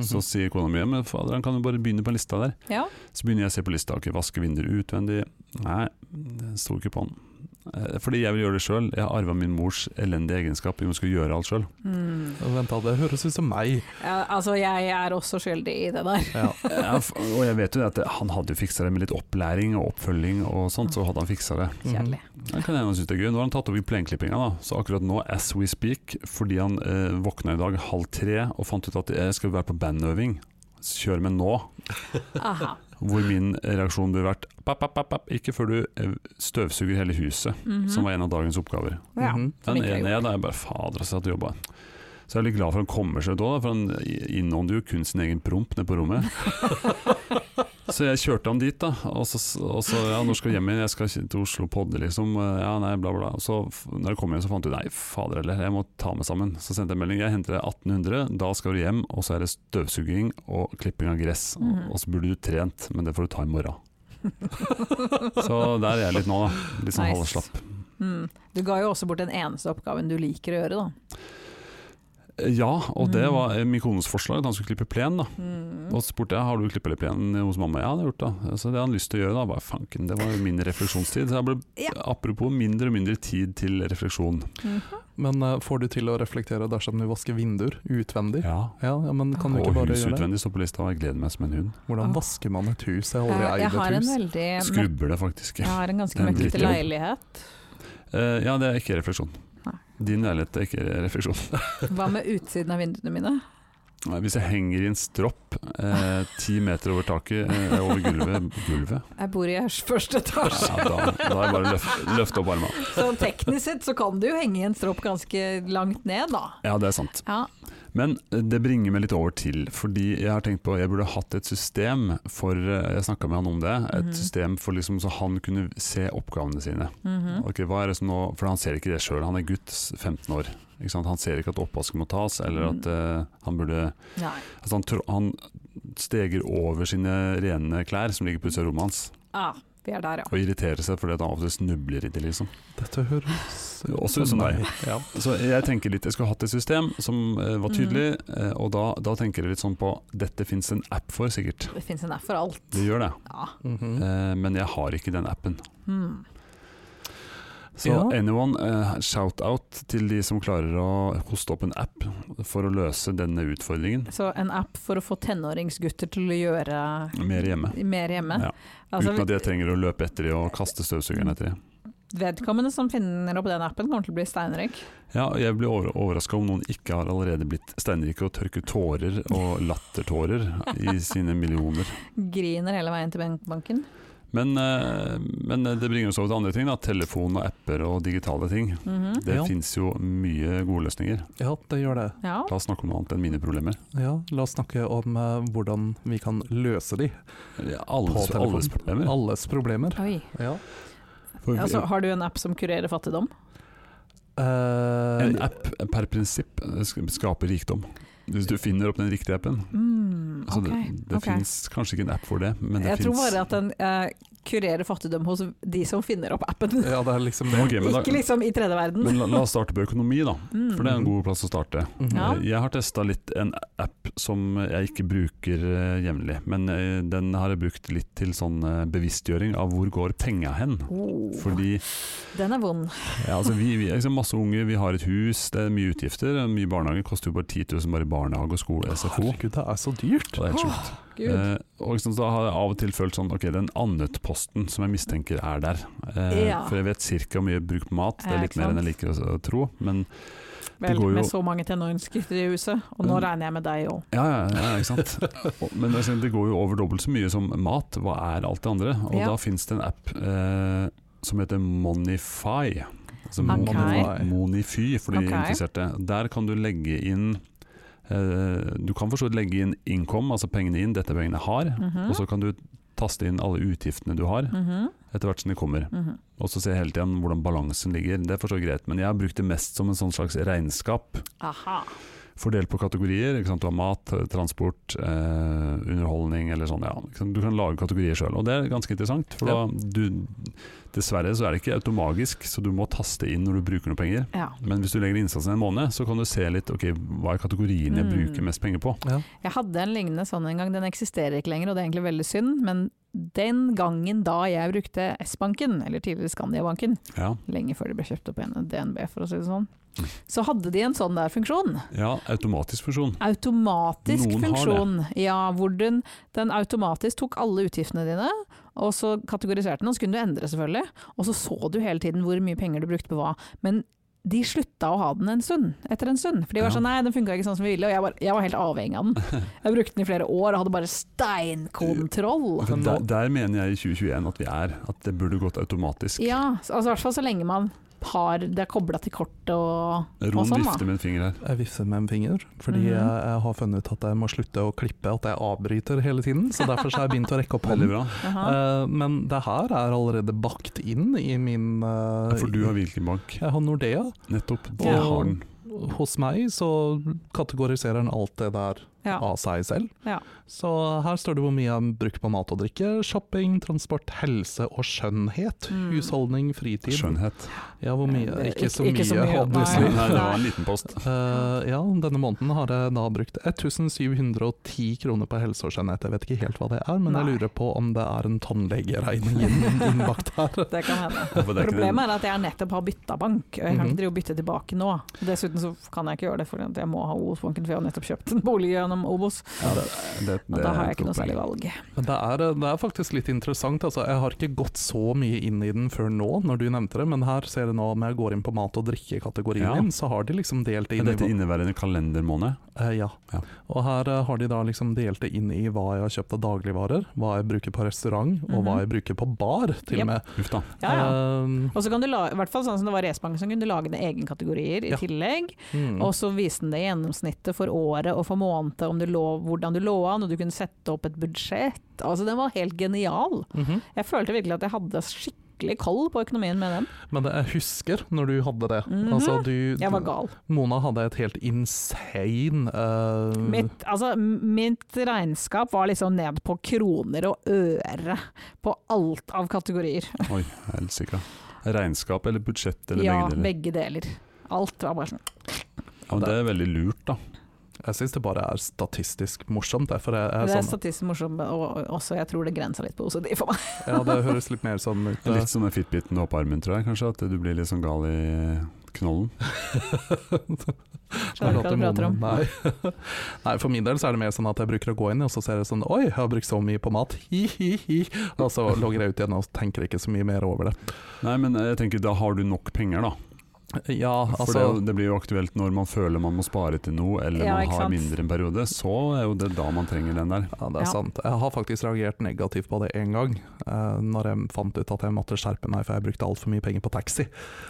B: Så
A: Mhm.
B: sier kona mi men fader, han kan jo bare begynne på lista der.
C: Ja.
B: Så begynner jeg å se på lista. Ok, vaske vinduer utvendig. Nei, det sto ikke på han. Eh, Fordi jeg vil gjøre det sjøl. Jeg har arva min mors elendige egenskap i å skulle gjøre alt
C: [LAUGHS]
B: sjøl.
C: Mm.
A: Vent, da, det høres ut som meg.
C: ja. Altså, jeg er også skyldig i det der.
A: Ja.
B: Ja, f- og jeg vet jo det at han hadde jo fiksa det med litt opplæring og oppfølging og sånt, så hadde han fiksa det.
C: Kjedelig.
B: Det kan hende han synes det er gøy. Nå har han tatt opp i plenklippinga, da. Så akkurat nå, as we speak, fordi han eh, våkna i dag halv tre og fant ut at jeg skal være på bandøving, så kjør med nå.
C: Aha.
B: Hvor min reaksjon burde vært papp, papp, papp, papp, ikke før du eh, støvsuger hele huset,
C: Mhm.
B: som var en av dagens oppgaver.
C: ja.
A: Mhm.
C: Som
B: Den
C: ikke er
B: ene
C: gjort.
B: jeg da er bare fader, altså, at du jobba. Så jeg er litt glad for han kommer seg ut òg, for han innånder jo kun sin egen promp nede på
C: [LAUGHS]
B: rommet. Så jeg kjørte han dit, da. Og så, og så ja, når skal jeg hjem igjen? Jeg skal til Oslo podde, liksom. Ja, nei, bla, bla. Og så f- når jeg kom hjem, så fant jeg ut nei, fader heller, jeg må ta meg sammen. Så sendte jeg en melding. Jeg henter deg 1800, da skal du hjem, og så er det støvsuging og klipping av gress.
C: Mhm.
B: Og så burde du trent, men det får du ta i morgen.
C: [LAUGHS]
B: Så der er jeg litt nå, da. Litt sånn
C: Nice.
B: halvslapp.
C: Mm. Du ga jo også bort den eneste oppgaven du liker å gjøre, da.
B: Ja, og det
C: Mm.
B: var eh, min kones forslag, at han skulle klippe plen. da.
C: Mm.
B: Og så spurte jeg har du klippet litt plen hos mamma. Ja, det har jeg gjort da. Så det hadde han lyst til å gjøre da, bare fanken, det var jo min refleksjonstid. Så jeg ble,
C: Ja.
B: apropos mindre og mindre tid til refleksjon.
C: Mhm.
A: Men eh, får du til å reflektere dersom du vasker vinduer utvendig?
B: Ja.
A: Ja, ja men kan du
B: Og
A: ikke bare
B: hus
A: gjøre det?
B: utvendig står på lista, og jeg gleder meg som en hund.
A: Hvordan vasker man et hus? Jeg har
C: Eh,
A: aldri
C: Jeg
A: eid
C: har en
A: et hus.
C: veldig møk-
B: Skrubber det faktisk.
C: jeg har en ganske
B: Det er en
C: møkkete
B: drittjobb. [LAUGHS]
C: leilighet.
B: Eh, ja, det er ikke refleksjon.
C: Nei.
B: Din leilighet er ikke refleksjon.
C: Hva med utsiden av vinduene mine?
B: Nei, Hvis jeg henger i en stropp eh, ti meter over taket, eh, over gulvet, gulvet
C: Jeg bor i første etasje.
B: ja, da, da er det bare å løft, løfte opp armene.
C: Så teknisk sett så kan du jo henge i en stropp ganske langt ned, da.
B: Ja, det er sant.
C: Ja.
B: Men eh, det bringer meg litt over til, fordi jeg har tenkt på jeg burde hatt et system for eh, Jeg snakka med han om det. Et
C: Mhm.
B: system for liksom, så han kunne se oppgavene sine.
C: Mhm.
B: Ok, hva er det som nå, For han ser ikke det sjøl, han er gutt, s- 15 år. Ikke sant? Han ser ikke at oppvasken må tas, eller
C: Mhm.
B: at eh, han burde
C: Nei.
B: altså han, tro- han steger over sine rene klær som ligger på utsida av rommet hans,
C: Ah, vi er der, ja.
B: og irriterer seg fordi at han av og til snubler i det. liksom.
A: Dette høres
B: Også ut som deg.
A: [LAUGHS] Ja.
B: Så jeg tenker litt, jeg skulle hatt et system som eh,
C: Mhm.
B: var tydelig, eh, og da, da tenker jeg litt sånn på dette fins en app for, sikkert.
C: Det fins en app for alt.
B: Det gjør det,
C: Ja.
A: Mhm.
B: eh, men jeg har ikke den appen.
C: Mm.
B: Så
A: Ja.
B: anyone, eh, shout-out til de som klarer å hoste opp en app for å løse denne utfordringen.
C: Så en app for å få tenåringsgutter til å gjøre
B: Mer hjemme.
C: mer hjemme.
B: Ja.
C: Altså,
B: Uten at jeg trenger å løpe etter de og kaste støvsugeren etter de.
C: vedkommende som finner opp den appen, kommer til å bli steinrik.
B: Ja, og jeg blir over overraska om noen ikke har allerede blitt steinrike og tørket tårer og lattertårer i
A: [LAUGHS]
B: sine millioner.
C: Griner hele veien til bankbanken.
B: Men, eh, men det bringer oss over til andre ting. da Telefon og apper og digitale ting.
C: Mhm.
B: Det
A: Mm. Ja.
B: finnes jo mye gode løsninger.
A: ja, det gjør det.
C: Ja.
B: La oss snakke om noe annet enn mine problemer.
A: Ja, la oss snakke om eh, hvordan vi kan løse de.
B: Eller, Alles,
A: På telefon.
B: alles problemer.
A: Alles problemer.
C: Oi.
A: Ja.
B: For vi-
C: Altså, har du en app som kurerer fattigdom?
A: Eh,
B: en app per prinsipp eh, sk- skaper rikdom. Hvis du finner opp den riktige appen.
C: Mm,
B: Altså,
C: ok,
B: det det
C: ok.
B: finnes kanskje ikke en app for det, men det
C: Jeg tror
B: finnes
C: bare at den eh, kurerer fattigdom hos de som finner opp appen. [LAUGHS]
A: Ja, det er liksom det.
B: Ok, men,
C: Ikke
B: da,
C: liksom i tredje verden.
B: men la, la oss starte på økonomi, da.
C: Mm.
B: For det er en god plass å starte. Eh,
A: Mhm.
C: Ja.
B: Jeg har testa litt en app som jeg ikke bruker eh, jevnlig, men eh, den har jeg brukt litt til sånn eh, bevisstgjøring av hvor går penga hen.
C: Oh,
B: Fordi
C: den er vond.
B: ja, altså vi, vi er liksom masse unge, vi har et hus, det er mye utgifter. og Mye barnehage koster jo bare 10 000 bare i barnehage og skole og SFO.
A: Herregud, det er så dyrt.
B: Og det er helt sjukt.
C: Gud.
B: Eh, og liksom, så har jeg av og til følt sånn Ok, den annetposten som jeg mistenker er der. Eh,
C: Ja.
B: For jeg vet ca. hvor mye jeg bruker på mat, det
C: Ja,
B: er litt
C: ikke
B: mer enn
C: sant?
B: jeg liker å, å tro. Men
C: Vel,
B: går jo-
C: med så mange tenåringsgutter i huset, og nå
B: Mm.
C: regner jeg med deg òg.
B: Ja, ja, ja ikke
C: [LAUGHS]
B: sant. Og- Men altså, det går jo over dobbelt så mye som mat. Hva er alt det andre? Og
C: Ja.
B: da finnes det en app eh, som heter Monify. Altså Mo-
C: Ok.
B: Monify- Monify for de
C: Ok.
B: interesserte. Der kan du legge inn eh, Du kan for så vidt legge inn income, altså pengene inn, dette pengene har.
C: Mm. Mhm.
B: Og så kan du taste inn alle utgiftene du har, etter hvert som de kommer.
C: Mhm.
B: Og så se hele tiden hvordan balansen ligger. Det er for så vidt greit, men jeg har brukt det mest som en sånn slags regnskap
C: Aha.
B: fordelt på kategorier. Ikke sant? Du har mat, transport, eh, underholdning eller sånn. Ja. Ikke sant? Du kan lage kategorier sjøl, og det er ganske interessant. For
A: Ja.
B: da, du, dessverre så er det ikke automagisk, så du må taste inn når du bruker noen penger.
C: Ja.
B: Men hvis du legger innsatsen en måned, så kan du se litt ok, hva er kategoriene jeg
C: Mm.
B: bruker mest penger på.
C: Jeg hadde en lignende sånn en gang, den eksisterer ikke lenger og det er egentlig veldig synd, men den gangen da jeg brukte S-banken, eller tidligere Skandiabanken,
B: Ja,
C: lenge før de ble kjøpt opp igjen av DNB for å si det sånn,
B: Mm.
C: så hadde de en sånn der funksjon.
B: ja automatisk fusjon.
C: Automatisk
B: Noen har det.
C: funksjon. Ja, hvor den, den automatisk tok alle utgiftene dine, og så kategoriserte den, og så kunne du endre selvfølgelig. Og så så du hele tiden hvor mye penger du brukte på hva. Men de slutta å ha den en stund, etter en stund. For de var
B: Ja.
C: sånn nei, den funka ikke sånn som vi ville, og jeg var, jeg var helt avhengig av
B: [LAUGHS]
C: den. Jeg brukte den i flere år og hadde bare steinkontroll.
B: For
A: Men
B: Der,
A: nå-
B: der mener jeg i 2021 at vi er, at det burde gått automatisk.
C: Ja, så- altså i hvert fall så lenge man har det kobla til kortet og, og
B: Ron
C: sånn,
B: vifter
C: da.
B: med en finger her.
A: Jeg vifter med en finger, fordi
C: Mhm.
A: jeg, jeg har funnet ut at jeg må slutte å klippe at jeg avbryter hele tiden. Så derfor så har jeg begynt å rekke opp
B: [LAUGHS] Veldig
A: hånden.
B: bra.
C: Jaha.
A: Eh, men det her er allerede bakt inn i min eh,
B: For du har hvilken bank?
A: Jeg har Nordea.
B: Nettopp. Det
A: Ja.
B: har den.
A: Hos meg så kategoriserer den alt det der
C: Ja.
A: av seg selv.
C: Ja.
A: Så her står det hvor mye jeg bruker på mat og drikke, shopping, transport, helse og skjønnhet.
C: Mm.
A: Husholdning, fritid.
B: Skjønnhet.
A: Ja, hvor mye?
C: Det er
A: Ikke så
C: ikke- ikke så
A: mye,
C: mye,
A: obviously.
B: Nei, det var en liten post.
A: Eh, ja, denne måneden har jeg da brukt 1710 kroner på helse og skjønnhet. Jeg vet ikke helt hva det er, men
C: Nei.
A: jeg lurer på om det er en tannlegeregning inn- innbakt her.
C: [LAUGHS] Det kan hende.
B: [LAUGHS] For det er ikke
C: Problemet er at jeg nettopp har bytta bank, og jeg kan
A: Mhm.
C: ikke drive og bytte tilbake nå. Dessuten så kan jeg ikke gjøre det, for jeg må ha Obos-banken, for jeg har nettopp kjøpt en bolig gjennom Obos.
B: Ja, det, det,
C: Og
B: det
C: da
B: er
C: har jeg
B: et
C: ikke
B: godt
C: noe særlig
B: poeng.
C: valg.
A: Men det er, eh, det er faktisk litt interessant. Altså, jeg har ikke gått så mye inn i den før nå, når du nevnte det, men her ser du nå om jeg går inn på mat- og drikkekategorien
B: Ja.
A: min, så har de liksom delt
B: Er
A: inn i
B: dette inneværende kalendermåned?
A: Eh, ja.
B: Ja.
A: Og her eh, har de da liksom delt det inn i hva jeg har kjøpt av dagligvarer, hva jeg bruker på restaurant, og hva
C: Mhm.
A: jeg bruker på bar, til
C: Yep.
A: og med.
B: Uff da.
C: Ja, ja.
A: Eh,
C: Og så kan du la, i hvert fall sånn som det var i S-banken, så kunne du lage dine egne kategorier i
A: Ja.
C: tillegg.
A: mm.
C: Og så viste den deg gjennomsnittet for året og for måned, om du lå, hvordan du lå an, og du kunne sette opp et budsjett. Altså den var helt genial.
A: Mhm.
C: Jeg følte virkelig at jeg hadde skikkelig koll på økonomien med den.
A: Men det, jeg husker når du hadde det.
C: Mhm.
A: altså, du,
C: Jeg var gal.
A: Mona hadde et helt insane eh,
C: Mitt, altså, m- mitt regnskap var liksom ned på kroner og øre på alt av kategorier.
B: Oi, helsike. Regnskap eller budsjett eller
C: Ja,
B: begge deler?
C: begge deler. Alt var bare sånn.
B: Ja, men det er veldig lurt, da.
A: Jeg syns det bare er statistisk morsomt. Derfor jeg, jeg,
C: Det er
A: er sånn,
C: statistisk morsomt, og også jeg tror det grensa litt på OCD for meg.
A: ja, det høres litt mer sånn
C: [LAUGHS]
A: ut. eh,
B: Litt som den fitbiten opp armen, tror jeg kanskje. At du blir litt sånn gal i knollen.
A: Nei,
C: Skjønner ikke hva du prater om.
A: Nei. [LAUGHS] Nei, for min del så er det mer sånn at jeg bruker å gå inn, og så ser jeg sånn Oi, jeg har brukt så mye på mat, [LAUGHS] hi-hi-hi. Og så logger jeg ut igjen og tenker ikke så mye mer over det.
B: Nei, men jeg tenker da har du nok penger, da.
A: Ja,
B: For
A: altså
B: det, er jo- det blir jo aktuelt når man føler man må spare til noe, eller
C: Ja,
B: man
C: ikke
B: har
C: sant.
B: mindre en periode. Så er jo det da man trenger den der.
A: ja,
C: Ja.
A: det er sant. Jeg har faktisk reagert negativt på det én gang, eh, når jeg fant ut at jeg måtte skjerpe meg for jeg brukte altfor mye penger på taxi.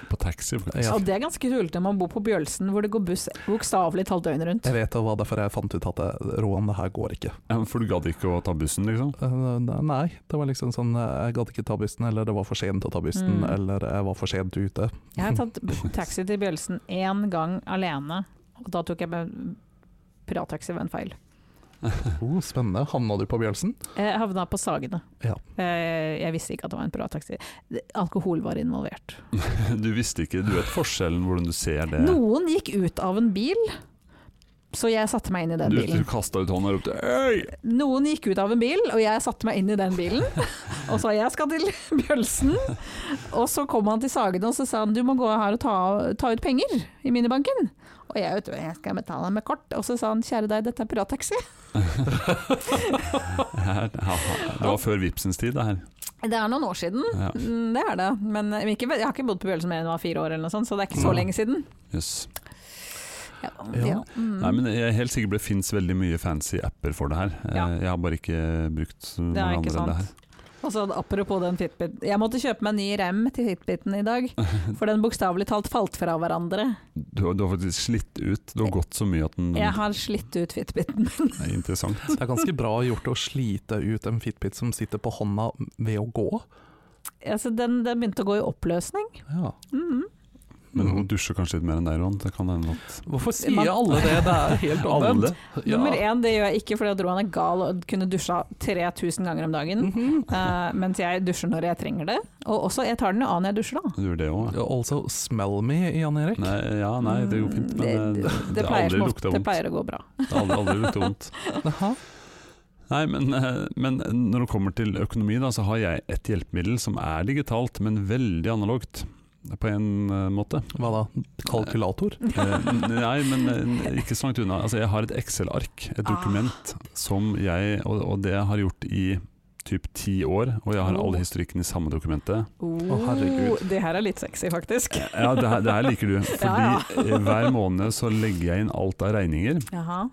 B: På taxi, faktisk.
A: Ja.
C: Og det er ganske tullete når man bor på Bjølsen hvor det går buss bokstavelig talt døgnet rundt.
A: Jeg vet det var derfor jeg fant ut at eh, Roan, det her går ikke.
B: Ja, For du gadd ikke å ta bussen, liksom? [LAUGHS]
A: Eh, Nei, det var liksom sånn eh, jeg gadd ikke ta bussen, eller det var for sent å ta bussen,
C: Mm.
A: eller jeg var for sent ute.
C: Jeg har tatt b- taxi til Bjølsen én gang alene, og da tok jeg med pirattaxi ved en feil.
A: Oh, spennende. Havna du på Bjølsen?
C: Jeg havna på Sagene.
A: Ja.
C: Eh, Jeg visste ikke at det var en pirattaxi. Det- Alkohol var involvert.
B: Du visste ikke Du vet forskjellen hvordan du ser det?
C: Noen gikk ut av en bil, så jeg satte meg inn i den
B: Du, du
C: bilen.
B: kasta ut hånda og ropte 'øy'!
C: Noen gikk ut av en bil, og jeg satte meg inn i
B: [LAUGHS]
C: den bilen. Og sa jeg skal til Bjølsen. Og så kom han til Sagene og så sa han du må gå her og ta, ta ut penger i minibanken. Og jeg vet du, jeg skal betale med kort. Og så sa han kjære deg, dette er pirattaxi.
B: Her, ja, det var før Vipsens tid, det her.
C: Det er noen år siden,
B: Ja.
C: Mm, det er det. Men ikke, jeg har ikke bodd på Bjølsen mer enn jeg var fire år, eller noe sånt, så det er ikke så
B: Ja.
C: lenge siden.
B: Jøss.
C: Ja.
A: Ja.
C: Ja. Mm.
B: Nei, men Jeg er helt sikker på det fins veldig mye fancy apper for det her. Eh,
C: Ja.
B: Jeg har bare ikke brukt så
C: Det
B: mange
C: er ikke
B: andre enn det her.
C: sant. Og så Altså, apropos den Fitbit Jeg måtte kjøpe meg en ny rem til Fitbiten i dag, for den bokstavelig talt falt fra hverandre.
B: Du, har- du har faktisk slitt ut. Du har gått så mye at den
C: Jeg har slitt ut Fitbiten. [LAUGHS]
B: er interessant.
A: Det er ganske bra gjort å slite ut en Fitbit som sitter på hånda ved å gå.
C: Altså, den, den begynte å gå i oppløsning.
A: Ja.
C: Mhm.
B: Men hun dusjer kanskje litt mer enn deg, Ron. Det kan hende at
A: Hvorfor sier
C: Man-
A: alle det? Det er [LAUGHS] helt omvendt. Ja.
C: Nummer én, det gjør jeg ikke fordi at Roan er gal og kunne dusja 3000 ganger om dagen.
A: Mhm.
C: eh, mens jeg dusjer når jeg trenger det. Og også, jeg tar den jo av når jeg dusjer, da.
B: Du gjør det òg?
A: Ja, Also smell me, Jan Erik.
B: Nei, ja, nei, det går fint. Men eh,
C: det,
B: det,
C: det,
B: det har
C: pleier,
B: aldri lukta
C: som ofte, det
B: vondt.
C: pleier å gå bra.
B: Det har aldri, aldri lukta vondt.
A: Jaha.
B: Nei, men, eh, men når det kommer til økonomi, da, så har jeg et hjelpemiddel som er digitalt, men veldig analogt. På en eh, måte.
A: Hva da? Kalkulator?
B: Eh, n- Nei, men eh, ikke så langt unna. Altså, jeg har et Excel-ark, et
C: Ah.
B: dokument, som jeg og, og det jeg har gjort i typ ti år, og jeg har all historikken i samme dokumentet.
C: Oh,
A: herregud.
C: det her er litt sexy,
B: [LAUGHS]
C: faktisk.
B: Ja, det her, det her liker du. Fordi eh, hver måned så legger jeg inn alt av regninger.
C: Jaha.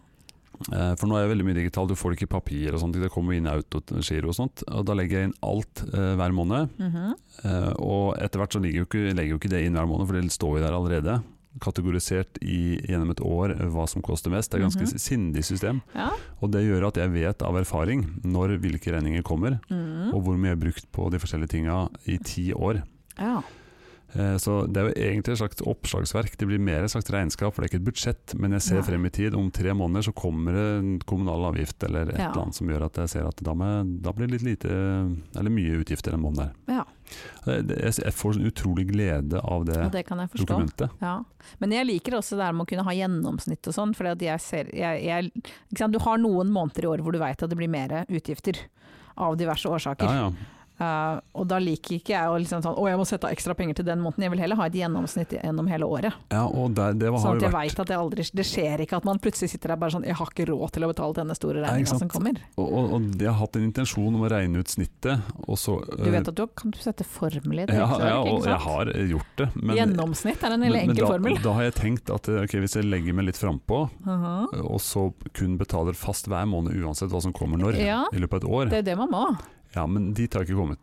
B: Eh, For nå er jeg veldig mye digital, du får det ikke i papir og sånt, det kommer inn i autogiro og sånt. Og da legger jeg inn alt eh, hver måned,
C: Mhm.
B: eh, og etter hvert så ligger jo ikke, legger jo ikke det inn hver måned, for det står jo der allerede. Kategorisert i, gjennom et år eh, hva som koster mest. Det er et ganske
C: Mhm.
B: sindig system.
C: Ja.
B: Og det gjør at jeg vet av erfaring når hvilke regninger kommer,
C: Mhm.
B: og hvor mye jeg har brukt på de forskjellige tinga i ti år.
C: ja.
B: Eh, Så det er jo egentlig et slags oppslagsverk. Det blir mer et slags regnskap, for det er ikke et budsjett. Men jeg ser
C: Nei.
B: frem i tid, om tre måneder så kommer det en kommunal avgift eller et
C: Ja.
B: eller annet som gjør at jeg ser at da, må jeg- da blir det litt lite, eller mye utgifter den måneden
C: Ja.
B: der. Eh, Det- Jeg jeg får sånn utrolig glede av
C: ja,
B: det,
C: det kan jeg forstå.
B: dokumentet.
C: Ja. Men jeg liker også det der med å kunne ha gjennomsnitt og sånn. For jeg ser jeg, jeg, ikke sant? Du har noen måneder i år hvor du veit at det blir mer utgifter. Av diverse årsaker.
B: Ja, ja.
C: Eh, og da liker ikke jeg å liksom sånn, å jeg må sette av ekstra penger til den måneden. Jeg vil heller ha et gjennomsnitt gjennom hele året.
B: ja og der, det har
C: Sånn
B: jo
C: at jeg
B: vært
C: veit at det aldri Det skjer ikke at man plutselig sitter der bare sånn Jeg har ikke råd til å betale denne store
B: Nei, ikke
C: regninga som
B: sant.
C: kommer.
B: og, og, og jeg har hatt en intensjon om å regne ut snittet, og så eh,
C: Du vet at du kan sette formel i det?
B: ja, ja,
C: ikke
B: og jeg
C: sant?
B: har gjort det. Men,
C: Gjennomsnitt er en veldig enkel
B: da,
C: formel.
B: da har jeg tenkt at eh, ok, hvis jeg legger meg litt frampå,
C: Mhm.
B: eh, og så kun betaler fast hver måned uansett hva som kommer når,
C: Ja.
B: i løpet av et år.
C: Det er jo det man må.
B: Ja, men dit har jeg ikke kommet.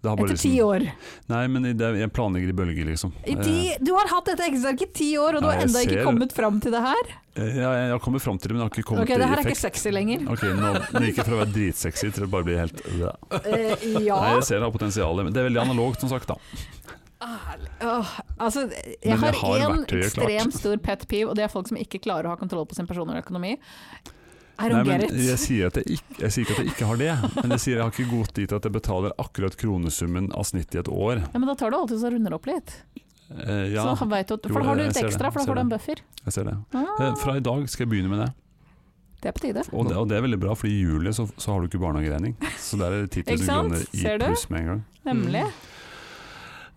B: Det har bare
C: Etter
B: liksom-
C: ti år.
B: Nei, men i det, jeg planlegger i bølger, liksom.
C: I ti,
B: Eh,
C: du har hatt dette Excel-arket i ti år, og du
B: Ja,
C: har
B: jeg
C: enda ikke
B: ser-
C: kommet fram til det her?
B: Eh, ja, jeg har kommet fram til det, men jeg har ikke kommet
C: Ok, det her er
B: til
C: ikke
B: effekt. [LAUGHS]
C: sexy lenger.
B: Ok, nå, nå gikk jeg fra å være dritsexy til å bare bli helt
C: Eh,
B: Nei,
C: ja.
B: jeg ser det har potensial, men det er veldig analogt, som sagt, da.
C: Ærlig. Åh, altså,
B: Men
C: jeg
B: jeg
C: har
B: har
C: én
B: verktøyet klart.
C: ekstremt stor pet peeve, og det er folk som ikke klarer å ha kontroll på sin personlige økonomi.
B: Nei,
C: I don't
B: men
C: get
B: jeg
C: it.
B: sier, at jeg, ikke, jeg sier ikke at jeg ikke har det, men jeg sier jeg har ikke gått dit at jeg betaler akkurat kronesummen av snitt i et år.
C: Ja, men da tar du alltid og runder opp litt.
B: Eh, ja,
C: Så han vet at,
B: Jo,
C: for da har du
B: jeg
C: litt
B: ser det,
C: ekstra, for da
B: ser
C: får du en buffer.
B: jeg ser det. Eh,
C: Ah,
B: Fra i dag skal jeg begynne med det.
C: det er på tide.
B: Og det, og det er veldig bra, for i juli så, så har du ikke barnehageregning. Så der er det 10
C: Ikke
B: 000
C: sant?
B: kroner i
C: Ser du?
B: pluss med en gang.
C: Nemlig.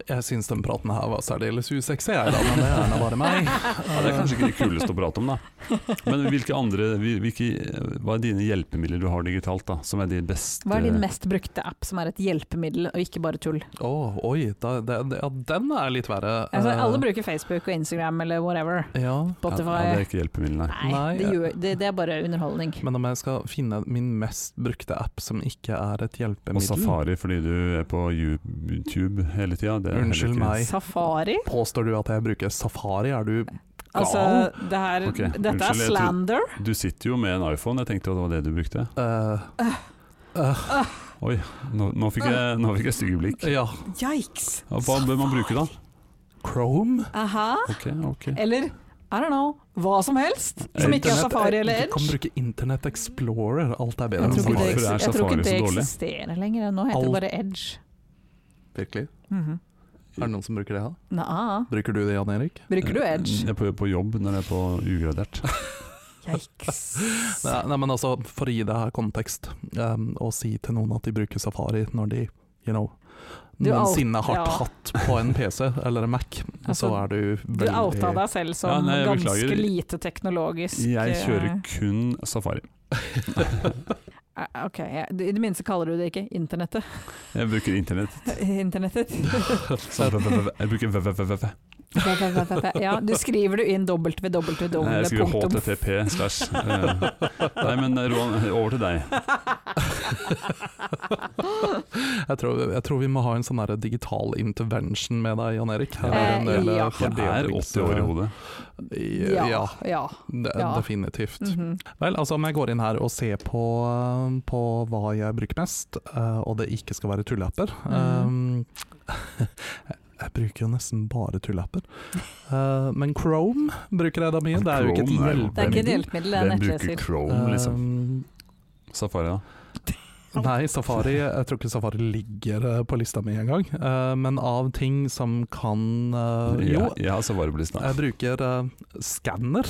A: Jeg syns den praten her var særdeles usexy, jeg da, men det er nå bare meg.
B: Ja, det er kanskje ikke det kuleste å prate om, da. Men hvilke andre, hvil- hvilke, hva er dine hjelpemidler du har digitalt, da, som er de beste?
C: Hva er din mest brukte app som er et hjelpemiddel, og ikke bare tull?
A: Å, oi, da, det, det, ja, den er litt verre.
C: Altså,
A: Eh,
C: alle bruker Facebook og Instagram eller whatever.
A: ja,
C: Spotify.
B: Ja, ja, det er ikke hjelpemiddel, nei.
C: Nei,
A: Nei,
C: det,
A: jeg-
C: gjør, det, det er bare underholdning.
A: men om jeg skal finne min mest brukte app som ikke er et
B: Og
A: hjelpemiddel
B: Safari fordi du er på YouTube hele tida.
A: Unnskyld meg.
C: Safari?
A: Påstår du at jeg bruker Safari? Er du
C: Altså,
A: gal?
C: det her,
B: Ok, unnskyld,
C: dette
B: jeg
C: er
B: tror-
C: slander.
B: Du sitter jo med en iPhone, jeg tenkte at det var det du brukte.
A: Eh, eh,
B: Nå, nå fikk jeg, nå fikk jeg stygge blikk.
A: ja,
C: Yikes!
B: Ja, Hva bør man bruke da?
A: Chrome?
C: Aha.
B: Ok, ok.
C: Eller I don't know, hva som helst som ikke er
A: Internett-
C: Safari eller
A: Du kan
C: Edge.
A: bruke Internett Explorer, alt er bedre
C: Jeg
A: enn
C: tror ikke det,
A: Safari.
B: Hvorfor er
C: eks- jeg tror
B: Safari
C: ikke det
B: så dårlig?
C: eksisterer lenger. Nå heter det
A: Alt-
C: bare Edge.
A: Virkelig?
C: Mhm.
A: Er det noen som bruker det? her?
C: Nei,
A: Bruker du det, Jan Erik?
C: bruker du Edge?
B: Jeg er på, på jobb når jeg er på ugradert. [LAUGHS]
C: Yikes.
A: Nei, nei, men altså, for å gi det her kontekst, um, og si til noen at de bruker Safari når de, you know,
C: Du out-
A: noensinne har
C: ja.
A: tatt på en PC eller en Mac, så
C: Altså,
A: er du
C: Du
A: veldig
C: outa
A: [LAUGHS]
C: deg selv som
B: Ja, nei, jeg
C: ganske
B: beklager.
C: lite teknologisk.
B: Jeg kjører
C: eh,
B: kun Safari.
C: eh, Ok, jeg- i det minste kaller du det ikke internettet. [LAUGHS]
B: Jeg bruker internett.
C: Internettet.
B: Så Jeg bruker www.
C: Ja, du skriver du inn
B: Nei, Jeg skriver
C: www.
B: http slash eh, Nei, men eh, Roan, over til deg.
A: Jeg tror, jeg tror vi må ha en sånn her digital intervention med deg, Jan Erik. Her er
C: Eh,
A: en del
C: ja.
A: eh,
B: Jeg er
A: fordelings-
B: 80 år i hodet.
A: Ja,
C: Ja. ja.
A: det,
C: Ja.
A: definitivt.
C: mhm.
A: Vel, altså om jeg går inn her og ser på, eh, på hva jeg bruker mest, eh, og det ikke skal være tulleapper
C: Mhm.
A: eh, [LAUGHS] Jeg bruker jo nesten bare tulleapper. Eh, men Chrome bruker jeg da mye.
B: Men
A: Det er jo ikke et
B: Chrome er jo
C: Det er ikke et
A: hjelpemiddel.
C: hjelpemiddel, det er
B: Hvem bruker
C: nettleser.
B: Chrome, liksom?
A: Eh,
B: Safari, da?
A: Nei, Safari, jeg tror ikke Safari ligger eh, på lista mi engang. Uh, men av ting som kan eh, Jo,
B: Jeg, jeg har Safari på lista.
A: jeg bruker eh, skanner.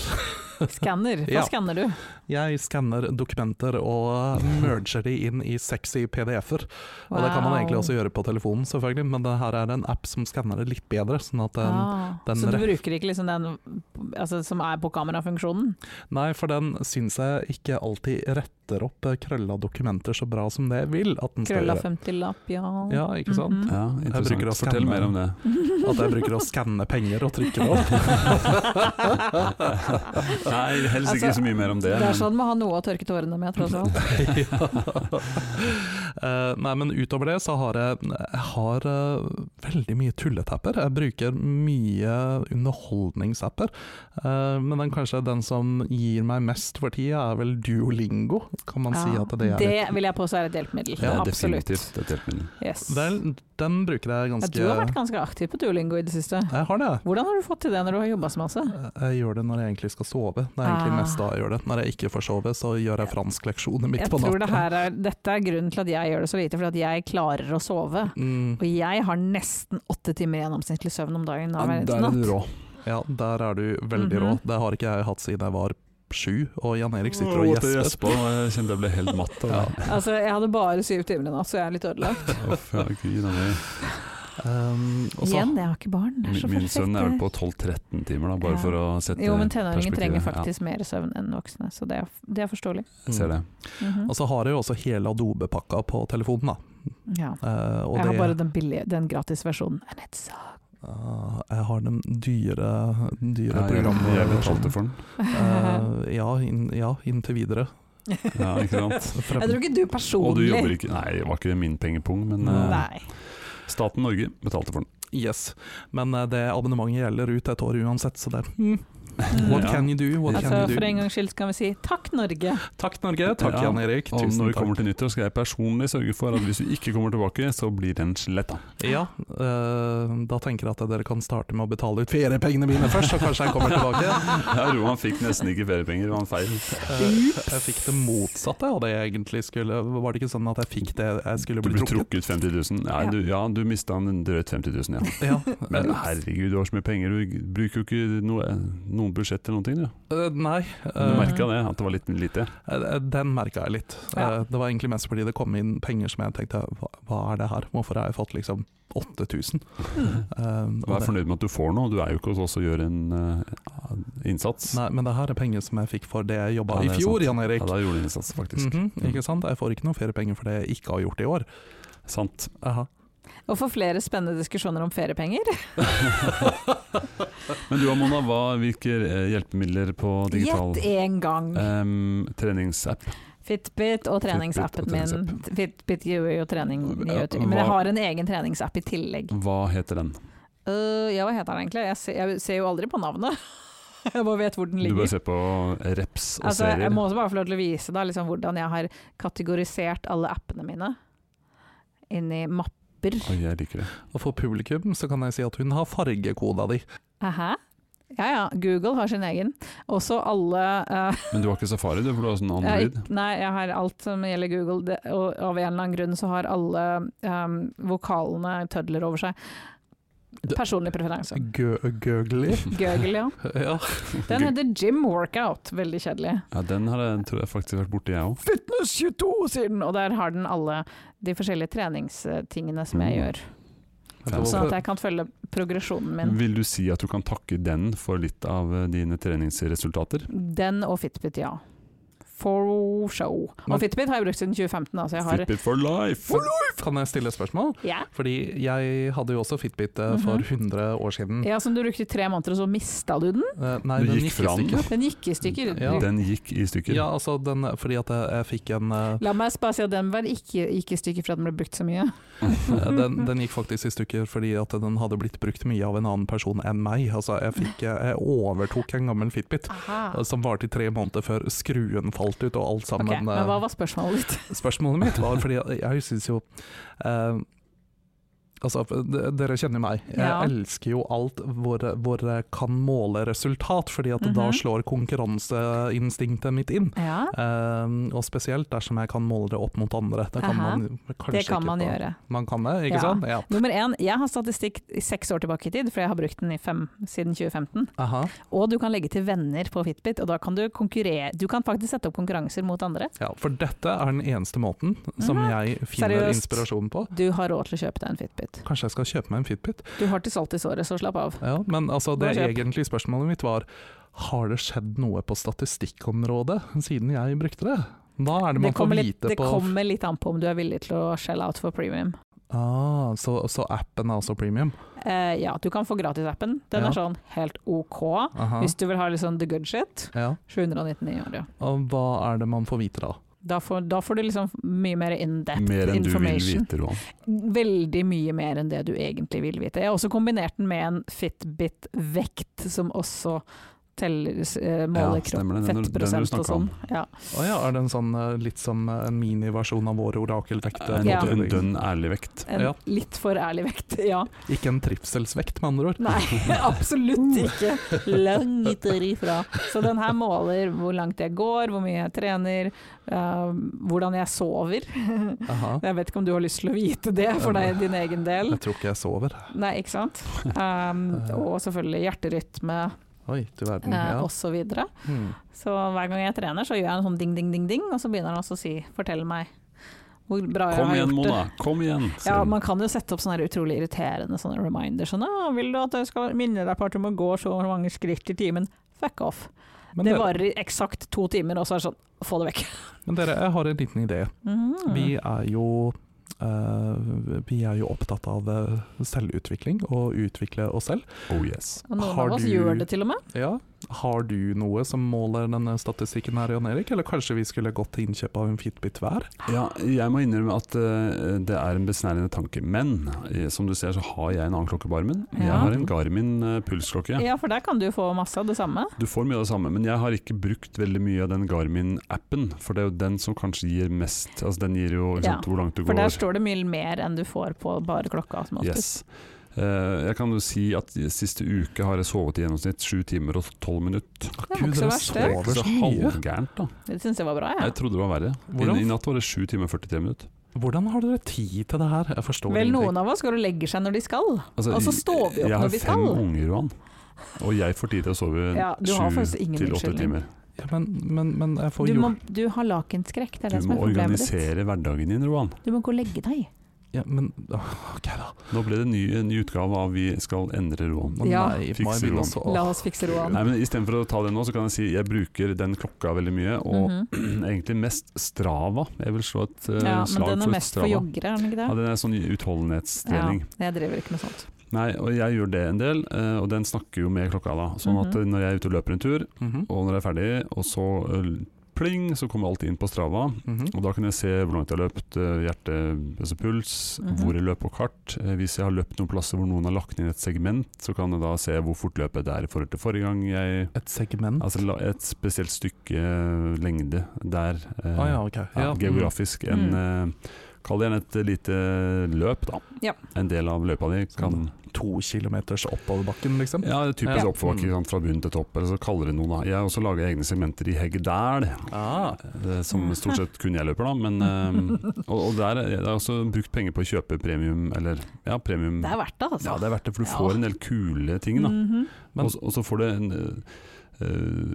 C: Skanner. Hva
A: Ja.
C: skanner du?
A: Jeg skanner dokumenter og merger de inn i sexy PDF-er. Og det kan man egentlig også gjøre på telefonen, selvfølgelig, men det her er en app som skanner det litt bedre. Sånn at den,
C: Ah,
A: den
C: så du
A: ref-
C: bruker ikke liksom den altså, som er på kamerafunksjonen?
A: Nei, for den syns jeg ikke alltid retter opp eh, krølla dokumenter så bra som det jeg vil at den skal
C: Krølla
A: gjøre.
C: 50-lapp, ja.
A: Ja, ikke sant?
C: [LAUGHS]
A: [LAUGHS]
C: Mhm.
B: Ja,
A: bruker å
B: interessant.
A: skanne-
B: Fortell mer om det.
C: [LAUGHS]
A: At jeg bruker å skanne penger og trykke det opp. [LAUGHS]
B: Nei, helst ikke
C: Altså,
B: så mye mer om det.
C: Det er
B: men-
C: sånn man har noe å tørke tårene med, tross alt.
A: ja. Eh, nei, men utover det så har jeg, jeg har, eh, veldig mye tulletapper. Jeg bruker mye underholdningsapper. Eh, men den kanskje den som gir meg mest for tida, er vel Duolingo. Kan man si
C: Ja,
A: at det er litt
C: vil jeg påstå er et hjelpemiddel.
B: Det er
C: Absolutt.
B: definitivt et hjelpemiddel.
C: Yes.
A: Vel, den bruker jeg
C: Ja,
A: ganske
C: du har vært ganske aktiv på Duolingo i det siste.
A: Jeg har det.
C: Hvordan har du fått til det når du har jobba så masse?
A: Jeg gjør det når jeg egentlig skal sove. Det er egentlig
C: Ah.
A: mest da jeg gjør det. Når jeg ikke får sove, så gjør jeg franskleksjoner midt
C: Jeg
A: på natta.
C: tror det her er, Dette er grunnen til at jeg gjør det så lite, fordi at jeg klarer å sove.
A: Mm,
C: Og jeg har nesten åtte timer gjennomsnittlig søvn om dagen
B: Ja,
C: hver
B: der
C: eneste
B: er
C: natt.
B: du rå.
A: ja, der er du veldig
C: Mhm.
A: rå. Det har ikke jeg hatt siden jeg var sju, og Jan Erik sitter og
B: Åh, at jeg
A: gjesper.
B: gjespa, og Jeg kjente jeg ble helt matt av det.
C: Altså, jeg hadde bare syv timer i natt, så jeg er litt
B: [LAUGHS]
C: ødelagt.
B: Uff, ja, gud, da blir-
A: Um, og så-
C: Igjen, jeg har ikke barn. Det er
B: Altså, Min
C: så
B: min sønn er vel
C: perfekt.
B: på eh, 12-13 timer, da, bare
C: Ja.
B: for å sette
C: Jo, men tenåringer
B: perspektivet.
C: trenger faktisk mer søvn enn voksne, så det er, det er forståelig.
B: Ja, jeg ser det.
C: Mhm.
A: Mm.
B: Altså,
A: Og så har jeg jo også hele Adobe-pakka på telefonen, da.
C: ja.
A: Eh, og
C: Jeg har
A: det-
C: bare den billige, den gratisversjonen. And it sucks.
A: Ah, jeg har den dyre, dyre
B: Ja, jeg,
A: programversjonen.
B: jeg betalte for den.
A: Eh, ja, inn- ja, inntil videre.
B: Ja, ikke sant?
C: [LAUGHS]
A: Frem-
C: Jeg tror ikke du
B: Og du
C: personlig
B: jobber ikke Nei, det var ikke min pengepung, men eh,
C: Nei.
B: staten Norge betalte for den.
A: Yes. Men eh, det abonnementet gjelder ut et år uansett, så det mm. What
B: [LAUGHS] Ja.
A: can you do? What
C: Altså,
A: can you
C: for en
A: do?
C: gangs skyld kan vi si takk, Norge.
A: Takk, Norge. Takk,
B: Ja.
A: Jan Erik.
B: Og
A: Tusen
B: når vi
A: takk.
B: kommer til nyttår, skal jeg personlig sørge for at hvis du ikke kommer tilbake, så blir den sletta.
A: Ja, eh, da tenker jeg at dere kan starte med å betale ut feriepengene mine først, så kanskje jeg
B: [LAUGHS]
A: kommer tilbake.
B: Ja, Roan fikk nesten ikke feriepenger, det var en feil.
A: Eh, jeg fikk det motsatte av det jeg egentlig skulle Var det ikke sånn at jeg fikk det jeg skulle
B: Du
A: bli
B: ble
A: trukket?
B: trukket 50 000. Nei, du, ja, du mista en drøyt 50 000, ja.
A: Ja.
B: [LAUGHS] Men herregud, du har så mye penger, du bruker jo ikke noe, noen noe budsjett eller noen ting, du.
A: Eh, nei,
B: Du
A: eh,
C: Mm.
B: merka det, at det var litt lite.
A: eh, den merka jeg litt.
C: Ja.
A: Eh, det var egentlig mest fordi det kom inn penger som jeg tenkte hva, hva er det her, hvorfor har jeg fått liksom 8000?
B: Mm.
A: Eh, og
B: Vær
A: det-
B: fornøyd med at du får noe, du er jo ikke hos oss og gjør en eh, innsats.
A: Nei, men det her er penger som jeg fikk for det jeg jobba
B: Ja, det
A: i
B: er
A: fjor,
B: sant.
A: Jan Erik.
B: Ja, da gjorde du en innsats, faktisk.
A: Mhm,
B: Mm.
A: Ikke sant? Jeg får ikke noen feriepenger for det jeg ikke har gjort i år.
B: Sant.
A: Aha.
C: Og for flere spennende diskusjoner om feriepenger.
B: Men du Mona, hva, hvilke eh, hjelpemidler på digital
C: Gjett én gang!
B: em, treningsapp?
C: Fitbit og
B: Fitbit og
C: treningsappen min. Fitbit gjør jo trening i
B: Ja,
C: YouTube, men jeg
B: hva-
C: har en egen treningsapp i tillegg.
B: Hva heter den?
C: Øh, ja, hva heter den egentlig? Jeg ser, jeg ser jo aldri på navnet. [LAUGHS] Jeg bare vet hvor den
B: Du bare
C: ligger.
B: ser på reps og
C: Altså, jeg
B: serier.
C: må også bare få lov til å vise da, liksom, hvordan jeg har kategorisert alle appene mine inn i mapper.
B: Oi, jeg liker det.
A: Og for publikum så kan jeg si at hun har fargekoda di.
C: Hæ? Ja ja, Google har sin egen. Også alle eh,
B: Men du har ikke safari, du, for du har sånn
C: jeg,
B: Android.
C: ikk- Nei, jeg har alt som gjelder Google, det, og av en eller annen grunn så har alle eh, vokalene tødler over seg.
A: Det-
C: Personlig
A: [LAUGHS]
C: preferanse.
A: Gø Gøgli.
C: Google, ja.
A: ja.
B: [LAUGHS]
C: Den heter Gym Workout. Veldig kjedelig.
B: Ja, den har jeg, tror jeg faktisk vært borti, jeg òg.
C: Fitness 22 siden! Og der har den alle de forskjellige treningstingene som jeg
B: Mm.
C: gjør.
A: Vet du
C: Sånn
A: hvorfor-
C: at jeg kan følge progresjonen min.
B: Vil du si at du kan takke den for litt av eh, dine treningsresultater?
C: Den og Fitbit, ja. For show. Og
A: Men-
C: Fitbit har jeg brukt siden 2015, altså jeg har
B: Fitbit for life!
A: Kan jeg stille et spørsmål?
C: ja.
A: Fordi jeg hadde jo også Fitbit eh, for
C: Mhm.
A: 100 år siden.
C: ja, som du brukte i tre måneder, og så mista du den.
A: Eh, Nei,
B: Du
A: den
B: gikk
A: gikk i
B: fra den.
A: stykker.
C: Den gikk i stykker.
A: Ja.
B: Den gikk i stykker.
A: Ja, altså den, fordi at jeg, jeg fikk en eh,
C: La meg bare si at den var ikke, gikk i stykker for at den ble brukt så mye.
A: eh, den, den gikk faktisk i stykker fordi at den hadde blitt brukt mye av en annen person enn meg. Altså, jeg, fikk, eh, jeg overtok en gammel Fitbit eh, som varte i tre måneder før skruen falt ut og
C: Ok,
A: alt sammen.
C: men
A: eh,
C: hva var spørsmålet ditt?
A: Spørsmålet mitt var fordi jeg- jeg syns jo eh, Altså, d- dere kjenner meg. Jeg
C: Ja.
A: elsker jo alt hvor, hvor jeg kan måle resultat, fordi at da
C: Mhm.
A: slår konkurranseinstinktet mitt inn.
C: [LAUGHS] Ja,
A: Eh, og spesielt dersom jeg kan måle det opp mot andre. Det kan
C: Aha.
A: man kanskje
C: det kan
A: ikke
C: man
A: på-
C: gjøre.
A: Man kan det, ikke
C: Ja.
A: sant? Ja.
C: Nummer én, jeg har statistikk i seks år tilbake i tid, for jeg har brukt den i fem siden 2015.
A: Aha.
C: Og du kan legge til venner på Fitbit, og da kan du konkurrere. Du kan faktisk sette opp konkurranser mot andre.
A: ja. For dette er den eneste måten som
C: Mhm.
A: jeg finner
C: Seriøst.
A: inspirasjon på.
C: Du har råd til å kjøpe deg en Fitbit.
A: Kanskje jeg skal kjøpe meg en Fitbit?
C: Du har til salt i såret, så slapp av.
A: Ja, men altså, det
C: Bare kjøp.
A: egentlige spørsmålet mitt var har det skjedd noe på statistikkområdet siden jeg brukte det? Da er det man
C: Det kommer,
A: får
C: litt,
A: vite
C: det
A: på
C: kommer litt an på om du er villig til å shell out for premium.
A: ah, så, så appen er altså premium?
C: Eh, ja, du kan få gratisappen. Den
A: Ja.
C: er sånn helt ok.
A: Aha.
C: Hvis du vil ha litt sånn the good shit.
A: Ja.
C: 799 år, ja.
A: Og hva er det man får vite da?
C: Da får, da får du liksom mye mer in depth
B: Mer enn du vil
C: information.
B: vite, Roan.
C: Veldig mye mer enn det du egentlig vil vite. Jeg har også kombinert den med en Fitbit-vekt, som også teller, s- eh, måler
B: Ja, stemmer det. Den du- den du
C: fettprosent og
B: snakket
C: sånn.
B: om.
C: Ja.
A: Å ja, er det en sånn eh, litt som eh, en miniversjon av vår orakelvekt? eh,
B: En,
C: Ja.
B: en dønn ærlig vekt.
C: En
A: Ja.
C: litt for ærlig vekt, [LAUGHS] ja.
A: Ikke en trivselsvekt, med andre
B: [LAUGHS]
A: ord?
C: Nei, absolutt
B: Uh.
C: ikke. Langt derifra. Så den her måler hvor langt jeg går, hvor mye jeg trener, eh, hvordan jeg sover.
A: [LAUGHS] Aha.
C: Jeg vet ikke om du har lyst til å vite det for deg, din egen del.
A: Jeg tror ikke jeg sover.
C: Nei, ikke sant? Um, og selvfølgelig hjerterytme
A: Oi, du verden.
C: eh,
A: Ja.
C: osv. Så,
A: Hmm.
C: så hver gang jeg trener, så gjør jeg en sånn ding, ding, ding, ding, og så begynner han også å si 'fortell meg hvor bra
B: Kom
C: jeg har
B: igjen,
C: gjort det'.
B: Mona! Kom igjen! sier
C: Ja,
B: hun.
C: man kan jo sette opp sånne her utrolig irriterende sånne reminders. Sånn, «Ah, 'Vil du at jeg skal minne deg på at du må gå så mange skritt i timen?' Fuck off.
A: Men,
C: det
A: dere,
C: varer i eksakt to timer, og så er det sånn 'få det vekk'.
A: men dere, jeg har en liten idé.
C: Mhm.
A: Vi er jo eh, vi er jo opptatt av eh, selvutvikling og utvikle oss selv.
B: Oh yes.
C: og noen
A: har
C: av oss
A: du-
C: gjør det til og med.
A: Ja. Har du noe som måler denne statistikken her, Jan Erik? Eller kanskje vi skulle gått til innkjøp av en Fitbit hver?
B: Ja, jeg må innrømme at eh, det er en besnærende tanke. Men eh, som du ser så har jeg en annen klokke på armen. Jeg
C: Ja.
B: har en Garmin eh, pulsklokke.
C: Ja, for der kan du få masse av det samme.
B: Du får mye av det samme, men jeg har ikke brukt veldig mye av den Garmin-appen. For det er jo den som kanskje gir mest. Altså den gir jo ikke
C: Ja,
B: sant, hvor langt du
C: For
B: går.
C: der står det mye mer enn du får på bare klokka. Som oftest.
B: Yes. Eh, jeg kan jo si at i siste uke har jeg sovet i gjennomsnitt sju timer og tolv minutter.
C: Det var ikke så
A: dere
C: verst, det.
A: sover
B: Så
A: så mye.
B: halvgærent, da.
C: Det syns jeg var bra,
B: Jeg
C: jeg.
B: trodde det var verre. I,
A: Hvordan?
B: I natt var det sju timer og 43 minutter.
A: Hvordan har dere tid til det her? Jeg forstår
C: Vel,
A: ingenting.
C: noen av oss går og legger seg når de skal.
B: Altså,
C: Og så står vi
B: jeg-
C: opp når vi
B: Jeg har
C: skal.
B: fem unger, Johan. Og jeg får tid til å sove
C: Ja, du har
B: sju
C: faktisk ingen
B: til åtte
C: unnskyldning.
B: timer.
A: Ja, men, men, men jeg får
C: Du,
A: jo
C: må, du har lakenskrekk, det er det
B: Du
C: som
B: må
C: er problemet ditt.
B: organisere hverdagen din, Roan.
C: Du må gå og legge deg.
A: ja, men, åh, OK, da.
B: Nå ble det en ny, en ny utgave av Vi skal endre Roan.
A: Å
C: Ja.
A: nei,
B: Fikser
A: Mai vil også
C: La oss fikse Roan.
B: Nei, men Istedenfor å ta det nå, så kan jeg si jeg bruker den klokka veldig mye. Og eh,
C: Mhm.
B: [CLEARS THROAT] egentlig mest Strava. Jeg vil slå et eh,
C: Ja, men
B: slag
C: den er
B: for
C: mest for
B: Strava.
C: joggere, er den ikke
B: ja,
C: det?
B: den er sånn utholdenhetstrening.
C: Ja, jeg driver ikke med sånt.
B: Nei, og jeg gjør det en del, eh, og den snakker jo med klokka da. Sånn at
C: Mhm.
B: eh, når jeg er ute og løper en tur,
A: Mhm,
B: og når jeg er ferdig, og så eh, pling, så kommer alt inn på Strava.
A: mhm.
B: Og da kan jeg se hvor langt jeg har løpt, eh, hjerte, altså puls,
C: Mhm.
B: hvor jeg løp på kart. Eh, Hvis jeg har løpt noen plasser hvor noen har lagt inn et segment, så kan jeg da se hvor fort løpet er i forhold til forrige gang jeg
A: Et segment?
B: Altså la- et spesielt stykke eh, lengde der. eh,
A: Å Ah, ja, OK.
B: ja,
A: Ja.
B: Geografisk. En, eh, kall det gjerne et lite løp, da.
C: Mhm. Ja.
B: En del av løypa di kan
A: To kilometers oppoverbakken, liksom?
B: Ja, det er typisk
A: Ja.
B: oppoverbakke
A: Mm.
B: sant, fra bunn til topp, eller så kaller det noe, da. Jeg har også laga egne segmenter i Heggedal,
A: Ah.
B: eh, som stort sett kun jeg løper, da. Men, eh, og, og der jeg har jeg også brukt penger på å kjøpe premium, eller ja, premium
C: Det er verdt det, altså.
B: Mm. Ja, det er verdt det, for du
C: Ja.
B: får en del kule ting, da.
C: Mhm.
A: Men-
B: og, så- og så får det en eh, eh,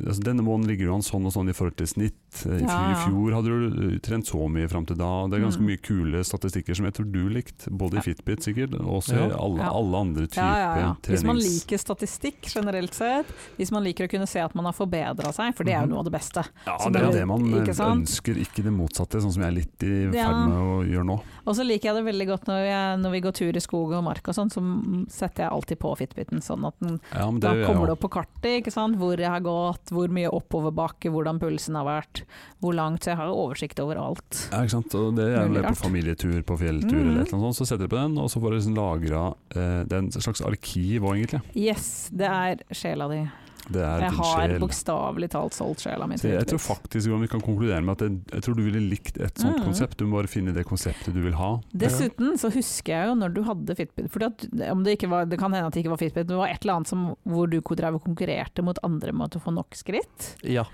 B: altså Denne måneden ligger du an sånn og sånn i forhold til snitt. Eh, I fj-
C: Ja,
B: i
C: ja.
B: fjor hadde du eh, trent så mye fram til da. og Det er ganske
C: Mm.
B: mye kule statistikker som jeg tror du likte, både
C: Ja.
B: i Fitbit sikkert, og også i
A: Ja.
B: alle,
C: Ja.
B: alle andre typer
C: Ja, ja, ja. Hvis man
B: trenings...
C: liker statistikk generelt sett, hvis man liker å kunne se at man har forbedra seg, for det er jo
A: Mhm.
C: noe av det beste.
B: Ja,
C: som
B: det er jo
C: man-
B: det man eh,
C: ikke sant?
B: ønsker, ikke det motsatte, sånn som jeg er litt i ferd
C: Ja.
B: med å gjøre nå.
C: Og så liker jeg det veldig godt når, jeg, når vi går tur i skog og mark og sånn, så setter jeg alltid på Fitbiten, sånn at den,
B: Ja, men det
C: da
B: gjør jeg
C: kommer
B: også.
C: det opp på kartet ikke sant? hvor jeg har gått, hvor mye oppoverbakke, hvordan pulsen har vært, hvor langt. Så jeg har oversikt over alt.
B: Ja, ikke sant? Og det er
C: Veldig
B: vel på
C: rart.
B: familietur, på fjelltur
C: Mhm.
B: eller et eller annet sånt, så setter du på den, og så får du liksom lagra eh, Det er en slags arkiv òg, egentlig.
C: Yes, det er sjela di.
B: Det er
C: Jeg
B: din
C: har
B: sjel.
C: bokstavelig talt solgt sjela mi.
B: Så
C: til
B: jeg tror
C: Fitbit.
B: faktisk Johan, vi kan konkludere med at jeg, jeg tror du ville likt et sånt
C: Mm.
B: konsept. Du må bare finne det konseptet du vil ha.
C: Dessuten så husker jeg jo når du hadde Fitbit fordi at, om det, ikke var, det kan hende at det ikke var Fitbit, men det var et eller annet som, hvor du drev og konkurrerte mot andre med å få nok skritt.
A: Ja,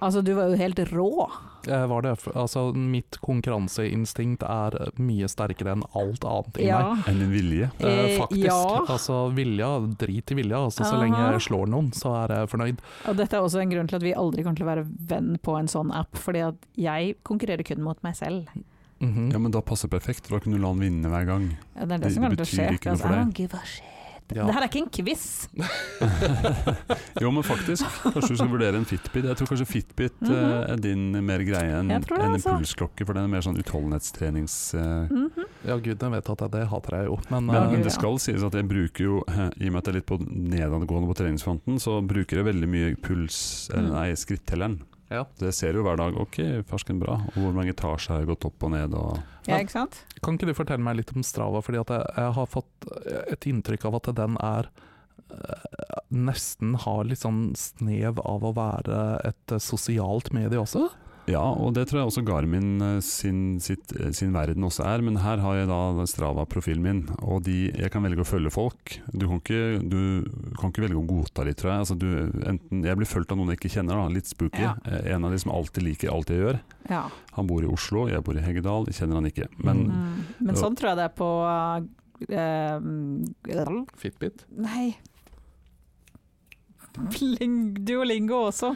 C: Altså, du var jo helt rå.
A: eh, var det. Altså, mitt konkurranseinstinkt er eh, mye sterkere enn alt annet i
C: Ja.
A: meg.
B: Enn en vilje.
A: Eh,
C: Eh,
A: faktisk.
C: ja.
A: Altså, vilja, drit i vilja. Altså, så
C: Aha.
A: lenge jeg slår noen, så er jeg fornøyd.
C: Og dette er også en grunn til at vi aldri kommer til å være venn på en sånn app, fordi at jeg konkurrerer kun mot meg selv.
A: Mhm.
B: Ja, men da passer det perfekt, for da kunne du la han vinne hver gang. [LAUGHS]
C: Ja, Det er det,
B: Det-
C: som
B: det
C: kommer til å skje.
B: betyr ikke noe
C: Altså,
B: for
C: I
B: deg.
C: don't give a shit.
A: Ja.
C: Det her er ikke en quiz!
B: Jo, men faktisk. Kanskje du skal vurdere en Fitbit. Jeg tror kanskje Fitbit eh,
C: Mhm.
B: er din mer greie enn
C: Jeg tror det,
B: enn en
C: altså.
B: pulsklokke, for den er mer sånn utholdenhetstrenings... eh,
C: Mhm.
A: Ja, gudene vet at jeg, det hater jeg jo, men,
B: men,
A: eh,
B: men
C: ja.
B: det skal sies at jeg bruker jo, eh, i og med at jeg er litt på nedadgående på treningsfronten, så bruker jeg veldig mye puls, eller
C: Mm.
B: nei, skrittelleren.
A: Ja.
B: Så jeg ser jo hver dag, ok, fersken bra, og hvor mange etasjer har jeg gått opp og ned, og...
C: Ja, ikke sant?
A: Kan ikke du fortelle meg litt om Strava, fordi at jeg, jeg har fått eh, et inntrykk av at den er eh, Nesten har litt sånn snev av å være et eh, sosialt medie også.
B: Ja, og det tror jeg også Garmin eh, sin, sitt, eh, sin verden også er, men her har jeg da Strava-profilen min, og de, jeg kan velge å følge folk. Du kan ikke, du kan ikke velge å godta de, tror jeg. Altså, du, enten, jeg blir fulgt av noen jeg ikke kjenner, da, litt spooky.
C: Ja.
B: Eh, En av de som alltid liker alt jeg gjør.
C: Ja.
B: Han bor i Oslo, jeg bor i Heggedal, jeg kjenner han ikke. Men
C: Mm.
A: Mm.
C: Men sånn tror jeg det er på eh,
A: Fitbit.
C: Nei Bling- Duolingo også.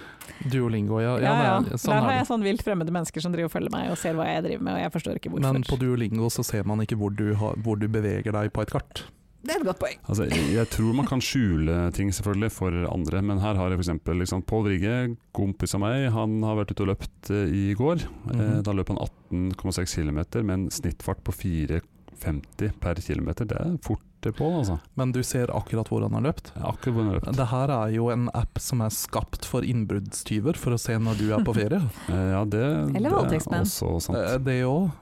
A: Duolingo, ja.
C: Ja,
A: ja,
C: ja.
A: men,
C: Der
A: Sånn
C: har
A: er
C: jeg
A: det.
C: sånn vilt fremmede mennesker som driver og følger meg og ser hva jeg driver med, og jeg forstår ikke hvorfor.
A: Men på Duolingo så ser man ikke hvor du, har, hvor du beveger deg på et kart.
C: Det er et godt poeng.
B: altså, jeg jeg tror man kan skjule ting selvfølgelig for andre, men her har jeg f.eks. Liksom, Pål Vrigge, kompis av meg, han har vært ute og løpt eh, i går.
C: Mm.
B: Eh,
A: Mhm.
B: Da løp han 18,6 km med en snittfart på 4,50 per km. Det er fort det på, altså.
A: Men du ser akkurat hvor han har løpt.
B: Det er Akkurat hvor han har løpt.
A: Det her er jo en app som er skapt for innbruddstyver, for å se når du er på ferie.
B: Eh, Ja, det, det
C: Eller
B: er
C: voldtektsmenn.
B: også [LAUGHS]
A: Eh,
B: sant.
A: Det òg.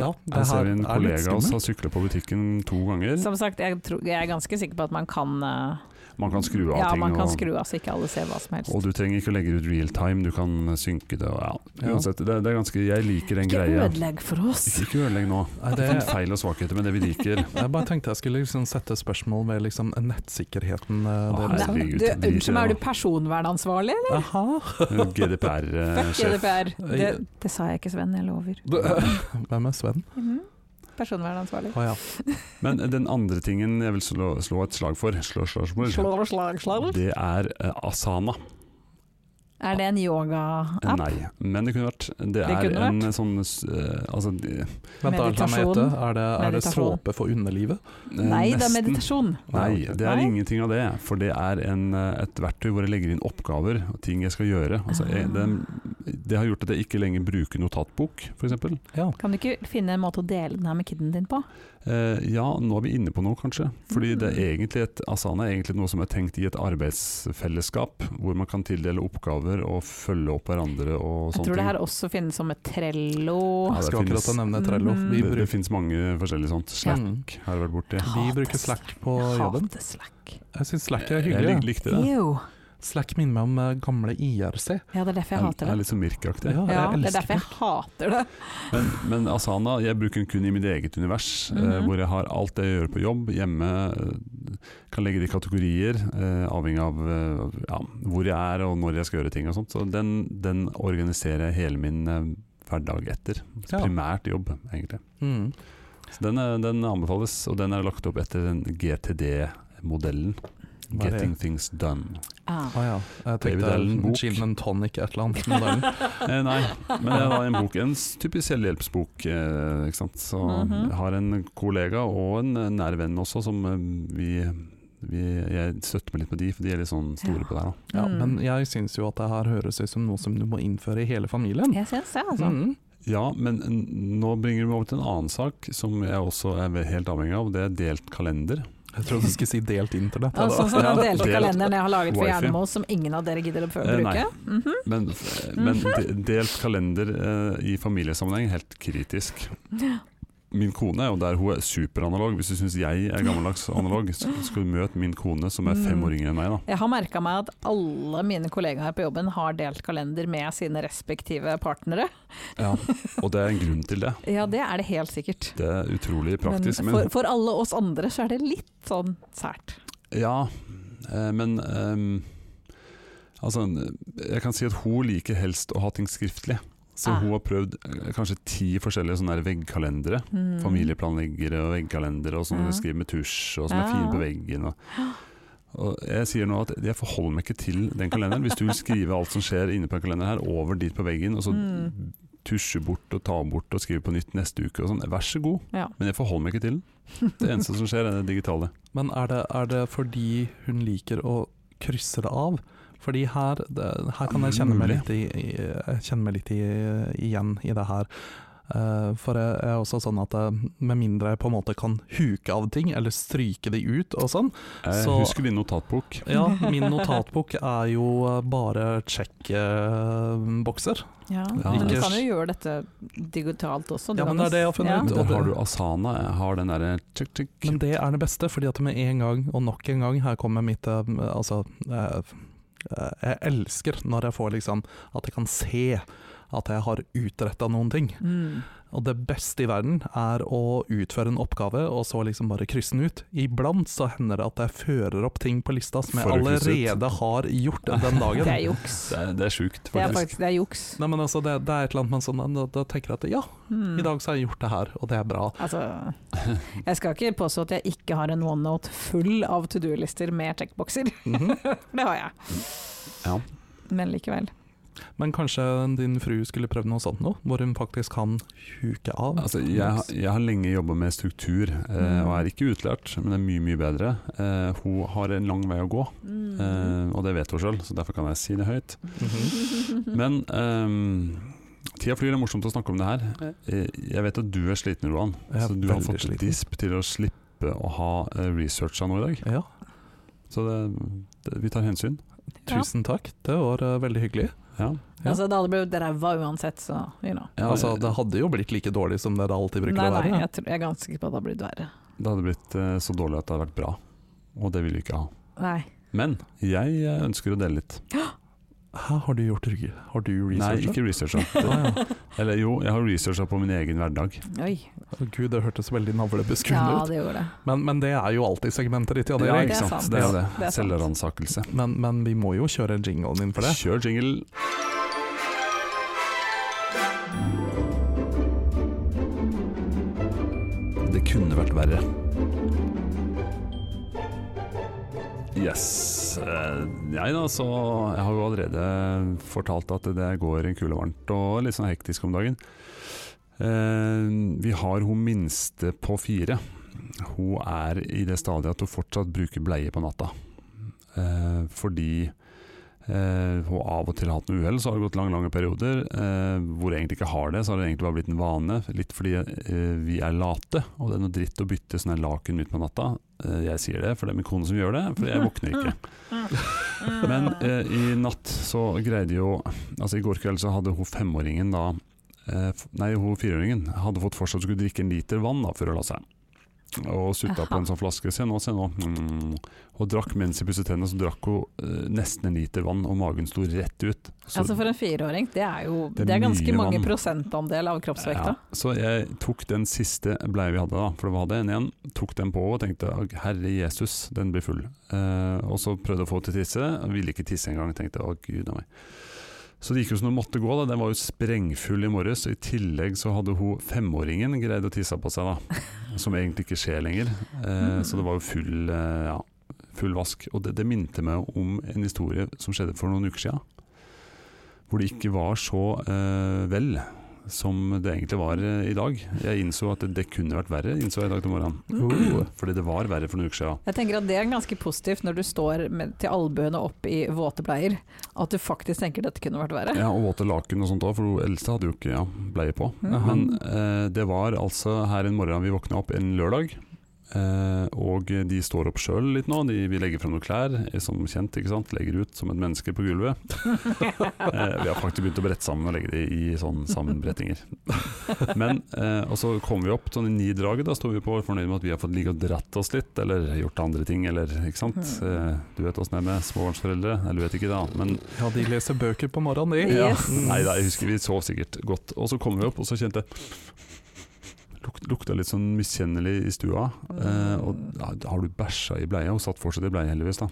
A: Ja, det
B: Her ser
A: her
B: vi en
A: er litt
B: kollega av oss
A: skummelt.
B: har syklet på butikken to ganger.
C: Som sagt, jeg, tror, jeg er ganske sikker på at man kan eh,
B: Man kan skru av
C: ja,
B: ting.
C: man kan
B: og-
C: skru av så ikke alle ser hva som helst.
B: og du trenger ikke å legge ut real time, du kan synke det. Og ja.
A: Ja.
B: Uansett, det, det er ganske, jeg liker den greia.
C: ødelegg for oss!
B: [LAUGHS] Ikke, ikke ødelegg nå.
A: Nei,
B: Det er
A: det,
B: feil og svakheter med det vi liker.
A: jeg bare tenkte jeg skulle liksom sette spørsmål ved liksom nettsikkerheten eh,
B: Å,
A: deres.
C: Nei,
B: Herregud,
C: du,
B: drit i det,
C: unnskyld meg,
B: da.
C: er du personvernansvarlig?
B: [LAUGHS]
A: Aha.
C: Fuck
B: GDPR-sjef.
C: GDPR! Det, det sa jeg ikke, Sven, jeg lover.
A: Hvem er Sven?
C: Mhm. personvernansvarlig.
A: Å ja.
B: Men den andre tingen jeg vil slå, slå et slag for, slå, slå, slå,
C: Slår, slag, slag.
B: det er eh, Asana.
C: Er det en yoga-app?
B: Nei, men det kunne vært. Det er
C: kunne
B: en sånn eh, altså, de-
A: Vent, da, la meg
C: Meditasjon.
A: gjette. Er det, er det
C: Meditasjon.
A: såpe for underlivet?
C: Nei, det er
B: nesten.
C: meditasjon.
B: Nei, det er
C: Nei?
B: ingenting av det. For det er en, eh, et verktøy hvor jeg legger inn oppgaver og ting jeg skal gjøre. Altså,
C: Ah.
B: jeg, det, det har gjort at jeg ikke lenger bruker notatbok, f.eks.
A: Ja.
C: Kan du ikke finne en måte å dele den her med kiden din på?
B: Eh, ja, nå er vi inne på noe, kanskje. Fordi det er
C: Mm.
B: egentlig et, Asana er egentlig noe som er tenkt i et arbeidsfellesskap, hvor man kan tildele oppgaver og følge opp hverandre og
C: Jeg
B: sånne
C: tror det
B: ting.
C: her også finnes som et trello.
B: Ja,
A: Jeg
B: det
A: skal akkurat
B: finnes-
A: nevne Trello. Vi
C: Mm.
B: Det, det
A: bruker,
B: finnes mange forskjellige sånt. Slack
A: Mm.
B: har jeg vært borti.
A: vi bruker Slack på jobben.
C: Hater Slack.
A: Jeg syns Slack er
B: Jeg lik-
A: hyggelig.
B: likte det.
C: Jo.
A: ja. Slack minner meg om eh, gamle IRC.
C: Ja, det er derfor jeg hater
B: er
C: det.
B: litt sånn Mirk-aktig.
C: Ja,
A: Ja, jeg
C: det er
A: elsker
C: derfor jeg hater det.
B: Men, men Asana, jeg bruker den kun i mitt eget univers, eh,
C: Mhm.
B: hvor jeg har alt det jeg gjør på jobb, hjemme, eh, kan legge det i kategorier, eh, avhengig av eh, ja, hvor jeg er og når jeg skal gjøre ting og sånt. Så den, den organiserer jeg hele min eh, hverdag etter. Så
A: Ja.
B: Primært jobb, egentlig.
A: Mm.
B: Så den, er- den anbefales, og den er lagt opp etter den GTD-modellen.
A: Hva er det?
B: Getting things done.
C: Ah.
A: Ah, ja. Jeg
B: David
A: tenkte
B: Allen-bok.
A: gin and tonic et eller annet. men
C: [LAUGHS]
A: det er-
B: Eh, nei, men det er da en bok, en s- typisk selvhjelpsbok. Eh, ikke sant? Så
C: Mhm.
B: jeg har en kollega og en eh, nær venn også, som eh, vi, vi Jeg støtter meg litt på de, for de er litt sånn store
C: Ja.
B: på det her. Da.
A: Ja,
C: Mm.
A: men jeg syns jo at det her høres ut som noe som du må innføre i hele familien.
C: Jeg syns det, altså.
A: Mm.
B: Ja, men n- nå bringer du meg over til en annen sak som jeg også er ve- helt avhengig av. Det er delt kalender.
A: Jeg trodde du skulle si delt internett.
C: Ja, sånn som
B: Ja,
C: den delte
B: delt
C: kalenderen jeg har laget for
B: wifi.
C: Jernemo, som ingen av dere gidder å prøve å
B: Eh, nei.
C: bruke. Mhm.
B: Men, eh, men de, delt kalender eh, i familiesammenheng er helt kritisk. Min kone er jo der hun er superanalog. Hvis du syns jeg er gammeldags analog, så skal du møte min kone som
C: Mm.
B: er fem år yngre enn meg. da
C: Jeg har merka meg at alle mine kollegaer på jobben har delt kalender med sine respektive partnere.
B: Ja, og det er en grunn til det.
C: Ja, det er det helt sikkert.
B: Det er utrolig praktisk.
C: men
B: Men,
C: for, for alle oss andre så er det litt sånn sært.
B: ja, eh, men ehm, altså, jeg kan si at hun liker helst å ha ting skriftlig. Så
C: Ah.
B: hun har prøvd eh, kanskje ti forskjellige sånne her veggkalendere.
C: Mm.
B: Familieplanleggere og veggkalendere og sånne
C: Ja.
B: du skriver med tusj og som er
C: Ja,
B: fine
C: ja.
B: på veggen. Og, og jeg sier nå at jeg forholder meg ikke til den kalenderen. Hvis du vil skrive alt som skjer inne på en kalender her, over dit på veggen, og så
C: Mm.
B: tusje bort og ta bort og skrive på nytt neste uke og sånn, vær så god.
C: Ja.
B: Men jeg forholder meg ikke til den. Det eneste som skjer, er det digitale.
A: Men er det, er det fordi hun liker å krysse det av? Fordi her, det, her kan jeg kjenne meg litt, i, i, jeg kjenner meg litt i, igjen i det her. Eh, for jeg er også sånn at eh, med mindre jeg på en måte kan huke av ting, eller stryke de ut og sånn
B: Jeg
A: Så-
B: husker din notatbok.
A: Ja, [LAUGHS] min notatbok er jo eh, bare eh, sjekkbokser.
C: Ja.
B: Ja.
C: Men du
A: Ikke-
C: kan jo gjøre dette digitalt også.
A: Ja, men det er det jeg har funnet ut.
B: Men
A: og det-
B: har du Asana, jeg har den derre check, check.
A: Men det er det beste, fordi at med en gang, og nok en gang, her kommer mitt eh, Altså, eh, eh, jeg elsker når jeg får liksom At jeg kan se at jeg har utretta noen ting.
C: Mm.
A: Og det beste i verden er å utføre en oppgave, og så liksom bare krysse den ut. Iblant så hender det at jeg fører opp ting på lista som jeg
B: For å krysse ut.
A: allerede har
B: [LAUGHS]
A: gjort den
C: Det
A: dagen.
C: er juks.
B: Det er, det er sjukt,
C: Det er
B: faktisk.
C: faktisk det er juks.
A: Nei, men altså, det, det er et eller annet, men sånn, da, da tenker jeg at ja,
C: Mm.
A: i dag så har jeg gjort det her, og det er bra.
C: Altså, jeg skal ikke påstå at jeg ikke har en OneNote full av to do-lister med checkbokser.
A: Mhm.
C: [LAUGHS] Det har jeg.
B: Ja.
C: Men likevel.
A: Men kanskje din fru skulle prøvd noe sånt nå, hvor hun faktisk kan huke av.
B: Altså, jeg, har- jeg har lenge jobba med struktur, eh, og er ikke utlært, men det er mye, mye bedre. Eh, hun har en lang vei å gå,
C: Mm. [LAUGHS]
B: eh, og det vet hun sjøl, så derfor kan jeg si det høyt.
A: Mhm.
B: Men ehm, tida flyr, det er morsomt å snakke om det her. Eh, Jeg vet at du er sliten, Roan,
A: Jeg er
B: så du har
A: veldig
B: fått
A: sliten.
B: disp til å slippe å ha eh, researcha noe i dag.
A: Ja,
B: Så det, det, vi tar hensyn.
A: tusen takk. Det var eh, veldig hyggelig.
B: Ja. Eh,
A: Ja.
C: Altså, det hadde blitt ræva uansett, så you know.
B: Ja,
A: altså, det hadde jo blitt like dårlig som det det alltid bruker
C: Nei,
A: å være.
C: nei, jeg, tror, jeg er ganske sikker på at det hadde blitt verre.
B: Det hadde blitt eh, så dårlig at det hadde vært bra, og det vil vi ikke ha.
C: Nei.
B: Men jeg eh, ønsker å dele litt.
A: Hæ, har du gjort rygg? Har du
B: Nei,
A: researcha?
B: ikke researcha.
A: [LAUGHS]
B: [LAUGHS]
A: Ah, ja.
B: Eller jo, jeg har researcha på min egen hverdag.
C: Oi.
A: Å, Gud, det hørtes veldig navlebeskuende
C: Ja,
A: ut.
C: det gjorde det.
A: Men, men det er jo alltid segmentet ditt, Jan
C: det
A: Erik.
C: er
B: ikke sant.
C: sant.
B: Det er
C: Ja,
B: det.
C: det er sant.
B: Selvransakelse.
A: Men, men vi må jo kjøre jinglen inn for det.
B: Kjør jingle. kunne vært verre. Yes. Eh, Nei da, så jeg har jo allerede fortalt at det går kulevarmt og litt sånn hektisk om dagen. Eh, Vi har hun minste på fire. Hun er i det stadiet at hun fortsatt bruker bleie på natta. Eh, Fordi eh, hun av og til har hatt noe uhell, så har det gått lange lange perioder eh, hvor jeg egentlig ikke har det. Så har det egentlig bare blitt en vane, litt fordi eh, vi er late, og det er noe dritt å bytte sånne laken ut på natta. Eh, Jeg sier det, for det er min kone som gjør det, for jeg våkner ikke.
C: Mm.
B: Men
C: Ah.
B: eh, i natt så greide jo Altså i går kveld så hadde hun femåringen da eh, f- Nei, hun fireåringen hadde fått for seg at hun skulle drikke en liter vann da før hun la seg. Og sutta på en
C: Aha.
B: sånn flaske. Se nå, se nå. Mm. Og drakk mens hun pusset tennene, så drakk hun eh, nesten en liter vann, og magen sto rett ut. Så,
C: altså For en fireåring, det er jo
B: Det er
C: det er ganske
B: mye
C: mange
B: vann.
C: prosentandel av
B: ja,
C: kroppsvekta.
B: så jeg tok den siste bleia vi hadde, da, for det var det en igjen, tok den på og tenkte «Å, herre Jesus, den blir full. Eh, og så prøvde jeg å få henne til å tisse, og ville ikke tisse engang. Tenkte å gud a meg. Så det gikk jo som det måtte gå, da. den var jo sprengfull i morges. Og i tillegg så hadde hun femåringen greid å tisse på seg, da. Som egentlig ikke skjer lenger. Eh, Så det var jo full, eh, ja, full vask. Og det, det minte meg om en historie som skjedde for noen uker siden. Hvor det ikke var så eh, vel som det egentlig var eh, i dag. Jeg innså at det, det kunne vært verre, innså jeg i dag til morgenen.
A: Oh.
B: Fordi det var verre for noen uker siden.
C: Jeg tenker at det er ganske positivt når du står med, til albuene opp i våte bleier, at du faktisk tenker dette kunne vært [LAUGHS] verre.
B: Ja, og våte laken og sånt òg, for hun eldste hadde jo ikke ja, bleie på.
C: Mhm.
B: Men eh, det var altså her en morgen vi våkna opp en lørdag. Eh, og de står opp sjøl litt nå. De, vi legger fram noen klær, eh, som kjent. ikke sant? Legger ut som et menneske på gulvet. Eh, vi har faktisk begynt å brette sammen og legge det i sånn sammenbrettinger. Men, eh, og så kommer vi opp sånn i ni draget, da står vi på fornøyd med at vi har fått ligge og dratt oss litt, eller gjort andre ting, eller ikke sant. Eh, du vet åssen det er med småbarnsforeldre, eller du vet ikke det, da. Men
A: Ja, de leser bøker på morgenen, de.
B: ja.
C: Yes.
B: Nei da, jeg husker vi sov sikkert godt. Og så kom vi opp, og så kjente jeg luk, Lukta litt sånn miskjennelig i stua. Eh, og ja, har du bæsja i bleia? Hun satt fortsatt i bleia, heldigvis. da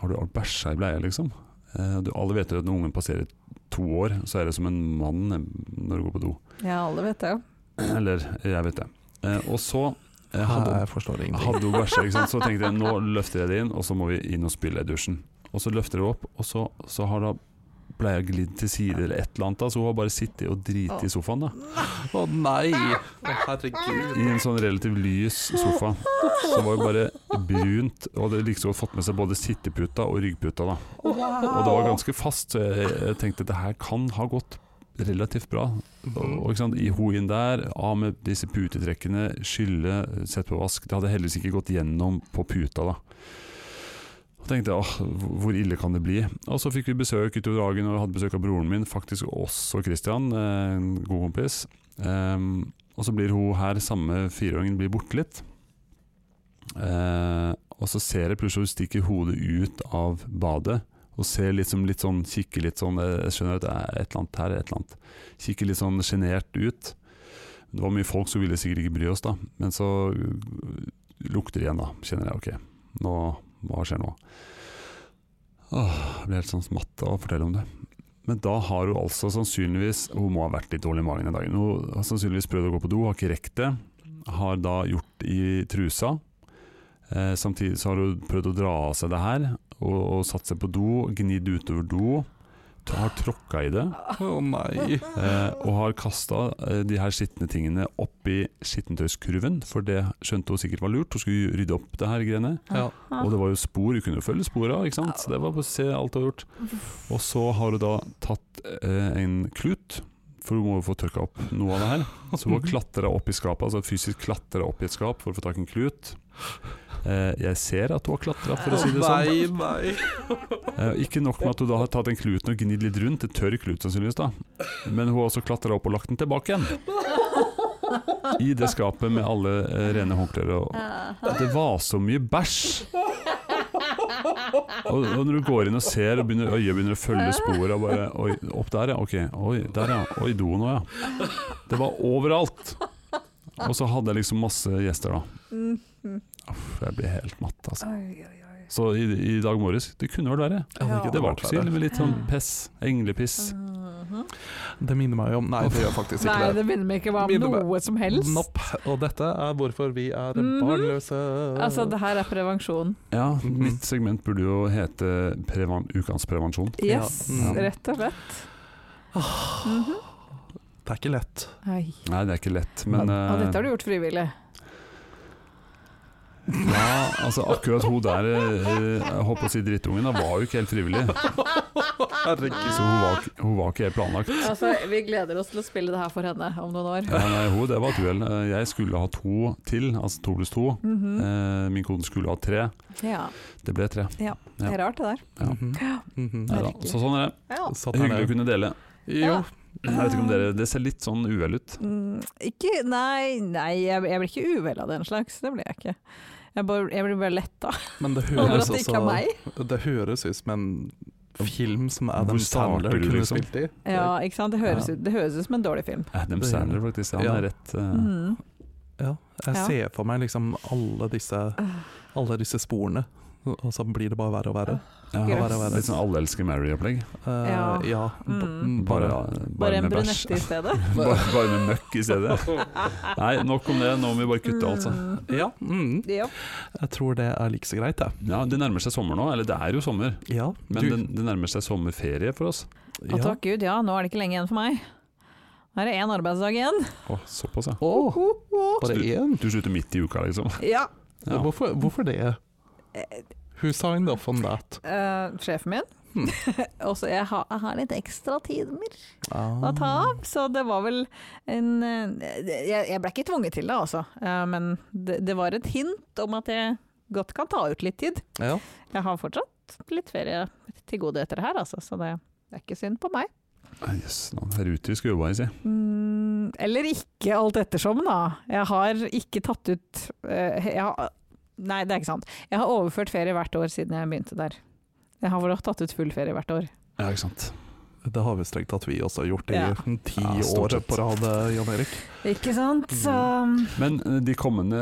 B: Har du har du bæsja i bleia, liksom? Eh, du, alle vet jo at når ungen passerer to år, så er det som en mann eh, når du går på do.
C: Ja, alle vet det jo.
B: Eller jeg vet det. Eh, og så eh, hadde,
A: Jeg forstår ingenting.
B: hadde hun bæsja, ikke sant? så tenkte jeg nå løfter jeg det inn, og så må vi inn og spyle i dusjen. Og så løfter hun opp, og så, så har da bleia glidd til side eller et eller annet, da, så hun har bare sittet og driti i sofaen. da
A: Å nei! Å herregud.
B: I en sånn relativt lys sofa. Så var jo bare brunt, og hadde liksom fått med seg både sitteputa og ryggputa. da Og det var ganske fast, så jeg, jeg tenkte det her kan ha gått relativt bra. Og, og ikke sant, I ho inn der, av med disse putetrekkene, skylle, sett på vask. Det hadde heldigvis ikke gått gjennom på puta, da. Og tenkte jeg, åh, hvor- hvor ille kan det bli? Og så fikk vi besøk utover dagen, og jeg hadde besøk av broren min, faktisk også Christian, eh, en god kompis. Ehm, og så blir hun her, samme fireåringen, blir borte litt. Eh, og så ser jeg plutselig hun stikker hodet ut av badet, og ser liksom litt sånn, kikker litt sånn, eh, jeg skjønner at det er et eller annet her, et eller annet kikker litt sånn sjenert ut. Det var mye folk, så vi ville sikkert ikke bry oss, da. Men så øh, lukter det igjen, da. Kjenner jeg, ok, nå, hva skjer nå? Åh, jeg blir helt sånn matt av å fortelle om det. Men da har hun altså sannsynligvis Hun må ha vært litt dårlig i magen den dagen. Hun har sannsynligvis prøvd å gå på do, har ikke rekt det. Har da gjort i trusa. Eh, samtidig så har hun prøvd å dra av seg det her, og, og satt seg på do, gnidd utover do. Har tråkka i det.
A: Å nei.
B: Eh, og har kasta eh, de her skitne tingene oppi skittentøyskurven, for det skjønte hun sikkert var lurt. Hun skulle rydde opp det her greiene.
A: Ja.
C: Ah.
B: Og det var jo spor, hun kunne jo følge spor av, ikke sant. Så det var bare å se alt hun har gjort. Og så har hun da tatt eh, en klut, for hun må jo få tørka opp noe av det her. Så hun har klatra opp i skapet, altså fysisk klatra opp i et skap for å få tak i en klut. Eh, jeg ser at hun har klatra, for å si det sånn.
A: Nei, nei.
B: Eh, Ikke nok med at hun da har tatt den kluten og gnidd litt rundt, en tørr klut sannsynligvis, da. men hun har også klatra opp og lagt den tilbake igjen. I det skapet med alle eh, rene håndklær. Og og det var så mye bæsj! Og, og når du går inn og ser, og begynner, øyet begynner å følge sporet og bare Oi, opp der, ja. Ok. Oi, der, ja. Oi, doen òg, ja. Det var overalt! Og så hadde jeg liksom masse gjester, da.
C: Mm.
B: Uff, jeg blir helt matt, altså. Så i, i dag morges Det kunne vært verre.
A: Ja, det
B: Det var
A: var
B: ikke så ille, men litt sånn pess. Englepiss.
A: Det minner meg jo om Nei, det gjør faktisk ikke
C: Nei,
A: det.
C: det minner meg ikke om
A: Minner meg-
C: noe som helst.
A: Nopp. Og dette er hvorfor vi er
C: Mhm.
A: barnløse.
C: Altså, det her er prevensjon.
B: Ja,
A: Mhm.
B: mitt segment burde jo hete prevan ukens prevensjon.
C: Yes,
A: Ja.
B: Mm.
C: rett og slett. Mhm.
A: Det er ikke lett.
C: Ai.
B: Nei, det er ikke lett, men,
A: Men-
C: Og
B: eh,
C: dette har du gjort frivillig.
B: Ja, altså akkurat hun der, eh, jeg holdt på å si drittungen, da var jo ikke helt
C: [LAUGHS]
B: frivillig. Så hun var, ikke- hun var ikke helt planlagt.
C: Altså, vi gleder oss til å spille det her for henne om noen år.
B: Ja, nei, hun, det var et uhell. Eh, Jeg skulle ha to til, altså to pluss to.
C: Mhm.
B: Eh, Min kone skulle ha tre.
C: Ja,
B: Det ble tre.
C: det er rart det der.
B: Ja.
A: Mhm. Mhm.
B: Nei da. Så sånn er det.
C: Ja.
A: Satt her
B: Hyggelig å
A: nede.
B: kunne dele.
A: Jo.
B: Jeg vet ikke om dere, Det ser litt sånn uhell ut.
C: Mm, ikke Nei, nei jeg, jeg blir ikke uvel av den slags. Det blir jeg ikke. Jeg, bare, jeg blir bare letta [LAUGHS]
A: Men det
C: over at
A: høres
C: det ikke er meg.
A: også Det høres ut som en film som Adam
B: Hvor starter
A: Sandler
B: du,
A: kunne
B: liksom?
A: spilt i.
C: Ja, ikke sant? Det høres,
A: Ja.
C: ut, det høres ut som en dårlig film.
B: Adam Sandler, faktisk. Han er rett eh,
C: Mhm.
A: Ja, jeg
C: Ja. Ah.
A: ser for meg liksom alle disse, alle disse sporene, og så blir det bare verre og verre.
B: ja, han
A: Grøss.
B: var Litt sånn Alle elsker Mary-opplegg.
A: Eh,
C: Ja.
A: ja. b-
C: Mm.
B: Bare,
A: Bare
C: Bare
B: bare
C: en
B: med bæsj.
C: brunette i [LAUGHS] stedet.
B: [LAUGHS] Bare, bare med møkk i stedet.
C: [LAUGHS]
B: Nei, nok om det. Nå må vi bare kutte, altså.
C: Mm.
A: Ja, mm,
C: Ja.
A: jeg tror det er like så greit, jeg.
B: Ja, Det nærmer seg sommer nå. Eller det er jo sommer,
A: Ja,
B: men det, det nærmer seg sommerferie for oss.
A: du-
C: Og
A: ja.
C: takk Gud, ja, nå er det ikke lenge igjen for meg. Nå er det én arbeidsdag igjen.
B: Å, såpass, ja.
A: Å,
C: Ho, ho.
A: bare én?
B: Du slutter midt i uka, liksom.
C: Ja.
B: Ja.
A: Hvorfor, hvorfor det? Who signed off on that?
C: Eh, sjefen min. [LAUGHS] og så jeg, har- jeg har litt ekstra timer
A: Ah.
C: å ta av, så det var vel en eh, Jeg, jeg ble ikke tvunget til det, altså, Eh, men det, det var et hint om at jeg godt kan ta ut litt tid.
A: Ja.
C: Jeg har fortsatt litt ferie til gode etter det her, altså, så det, det er ikke synd på meg.
B: Ah, Jøss, nå er ute vi skal jobbe her, si.
C: Mm, eller ikke, alt ettersom, da. Jeg har ikke tatt ut eh, jeg har, Nei, det er ikke sant. Jeg har overført ferie hvert år siden jeg begynte der. Jeg har vel tatt ut full ferie hvert år.
B: Ja, ikke sant.
A: Det har vi strengt tatt vi også gjort i
C: Ja.
A: ti
B: Ja, stort
A: år
B: sett.
A: på rad, eh, Jan Erik.
C: Ikke sant? Så
B: Men eh, de kommende,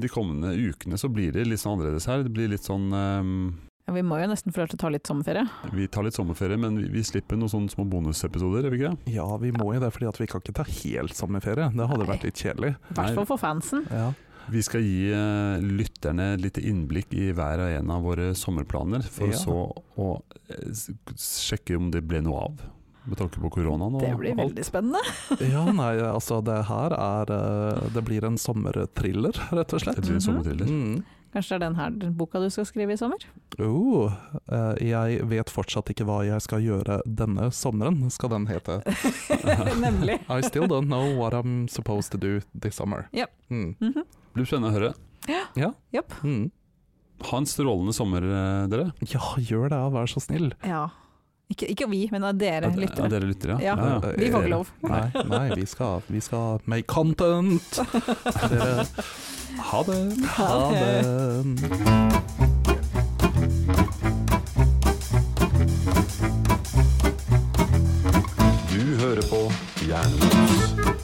B: de kommende ukene så blir det litt sånn annerledes her. Det blir litt sånn eh,
C: ja, vi må jo nesten få lov til å ta litt sommerferie.
B: Vi tar litt sommerferie, men vi, vi slipper noen sånne små bonusepisoder, gjør vi ikke det?
A: Ja, vi må jo det, fordi at vi kan ikke ta helt sommerferie. Det hadde vært litt kjedelig.
C: I hvert fall for fansen.
A: Ja.
B: Vi skal gi eh, lytterne et lite innblikk i hver og en av våre sommerplaner, for
A: Ja.
B: så å eh, s- sjekke om det ble noe av, med tanke på koronaen og
C: Det blir
B: alt.
C: veldig spennende.
A: Ja, nei, altså det her er eh, Det blir en sommerthriller, rett og
B: Det
A: slett.
B: blir
C: Mhm.
B: en sommerthriller.
A: Mm.
C: Kanskje det er den her boka du skal skrive i sommer?
A: Oh, eh, jeg vet fortsatt ikke hva jeg skal gjøre denne sommeren, skal den hete.
B: [LAUGHS]
C: [LAUGHS] Nemlig.
A: I still don't know what I'm supposed to do this summer.
C: Yep.
A: Mm.
C: Mhm.
B: Det blir spennende å høre.
A: Mm.
B: Ha en strålende sommer, eh, dere.
A: Ja, gjør det, vær så snill.
C: Ja. Ikke, ikke vi, men av dere
B: Ja,
C: lyttere.
B: dere lyttere, ja.
C: Ja.
B: ja. ja.
A: Eh,
C: Vi får ikke lov.
A: Nei, nei vi, skal, vi skal make
C: [LAUGHS]
A: content! Dere,
B: Ha det!
A: ha det!
B: Du hører på Jernmos.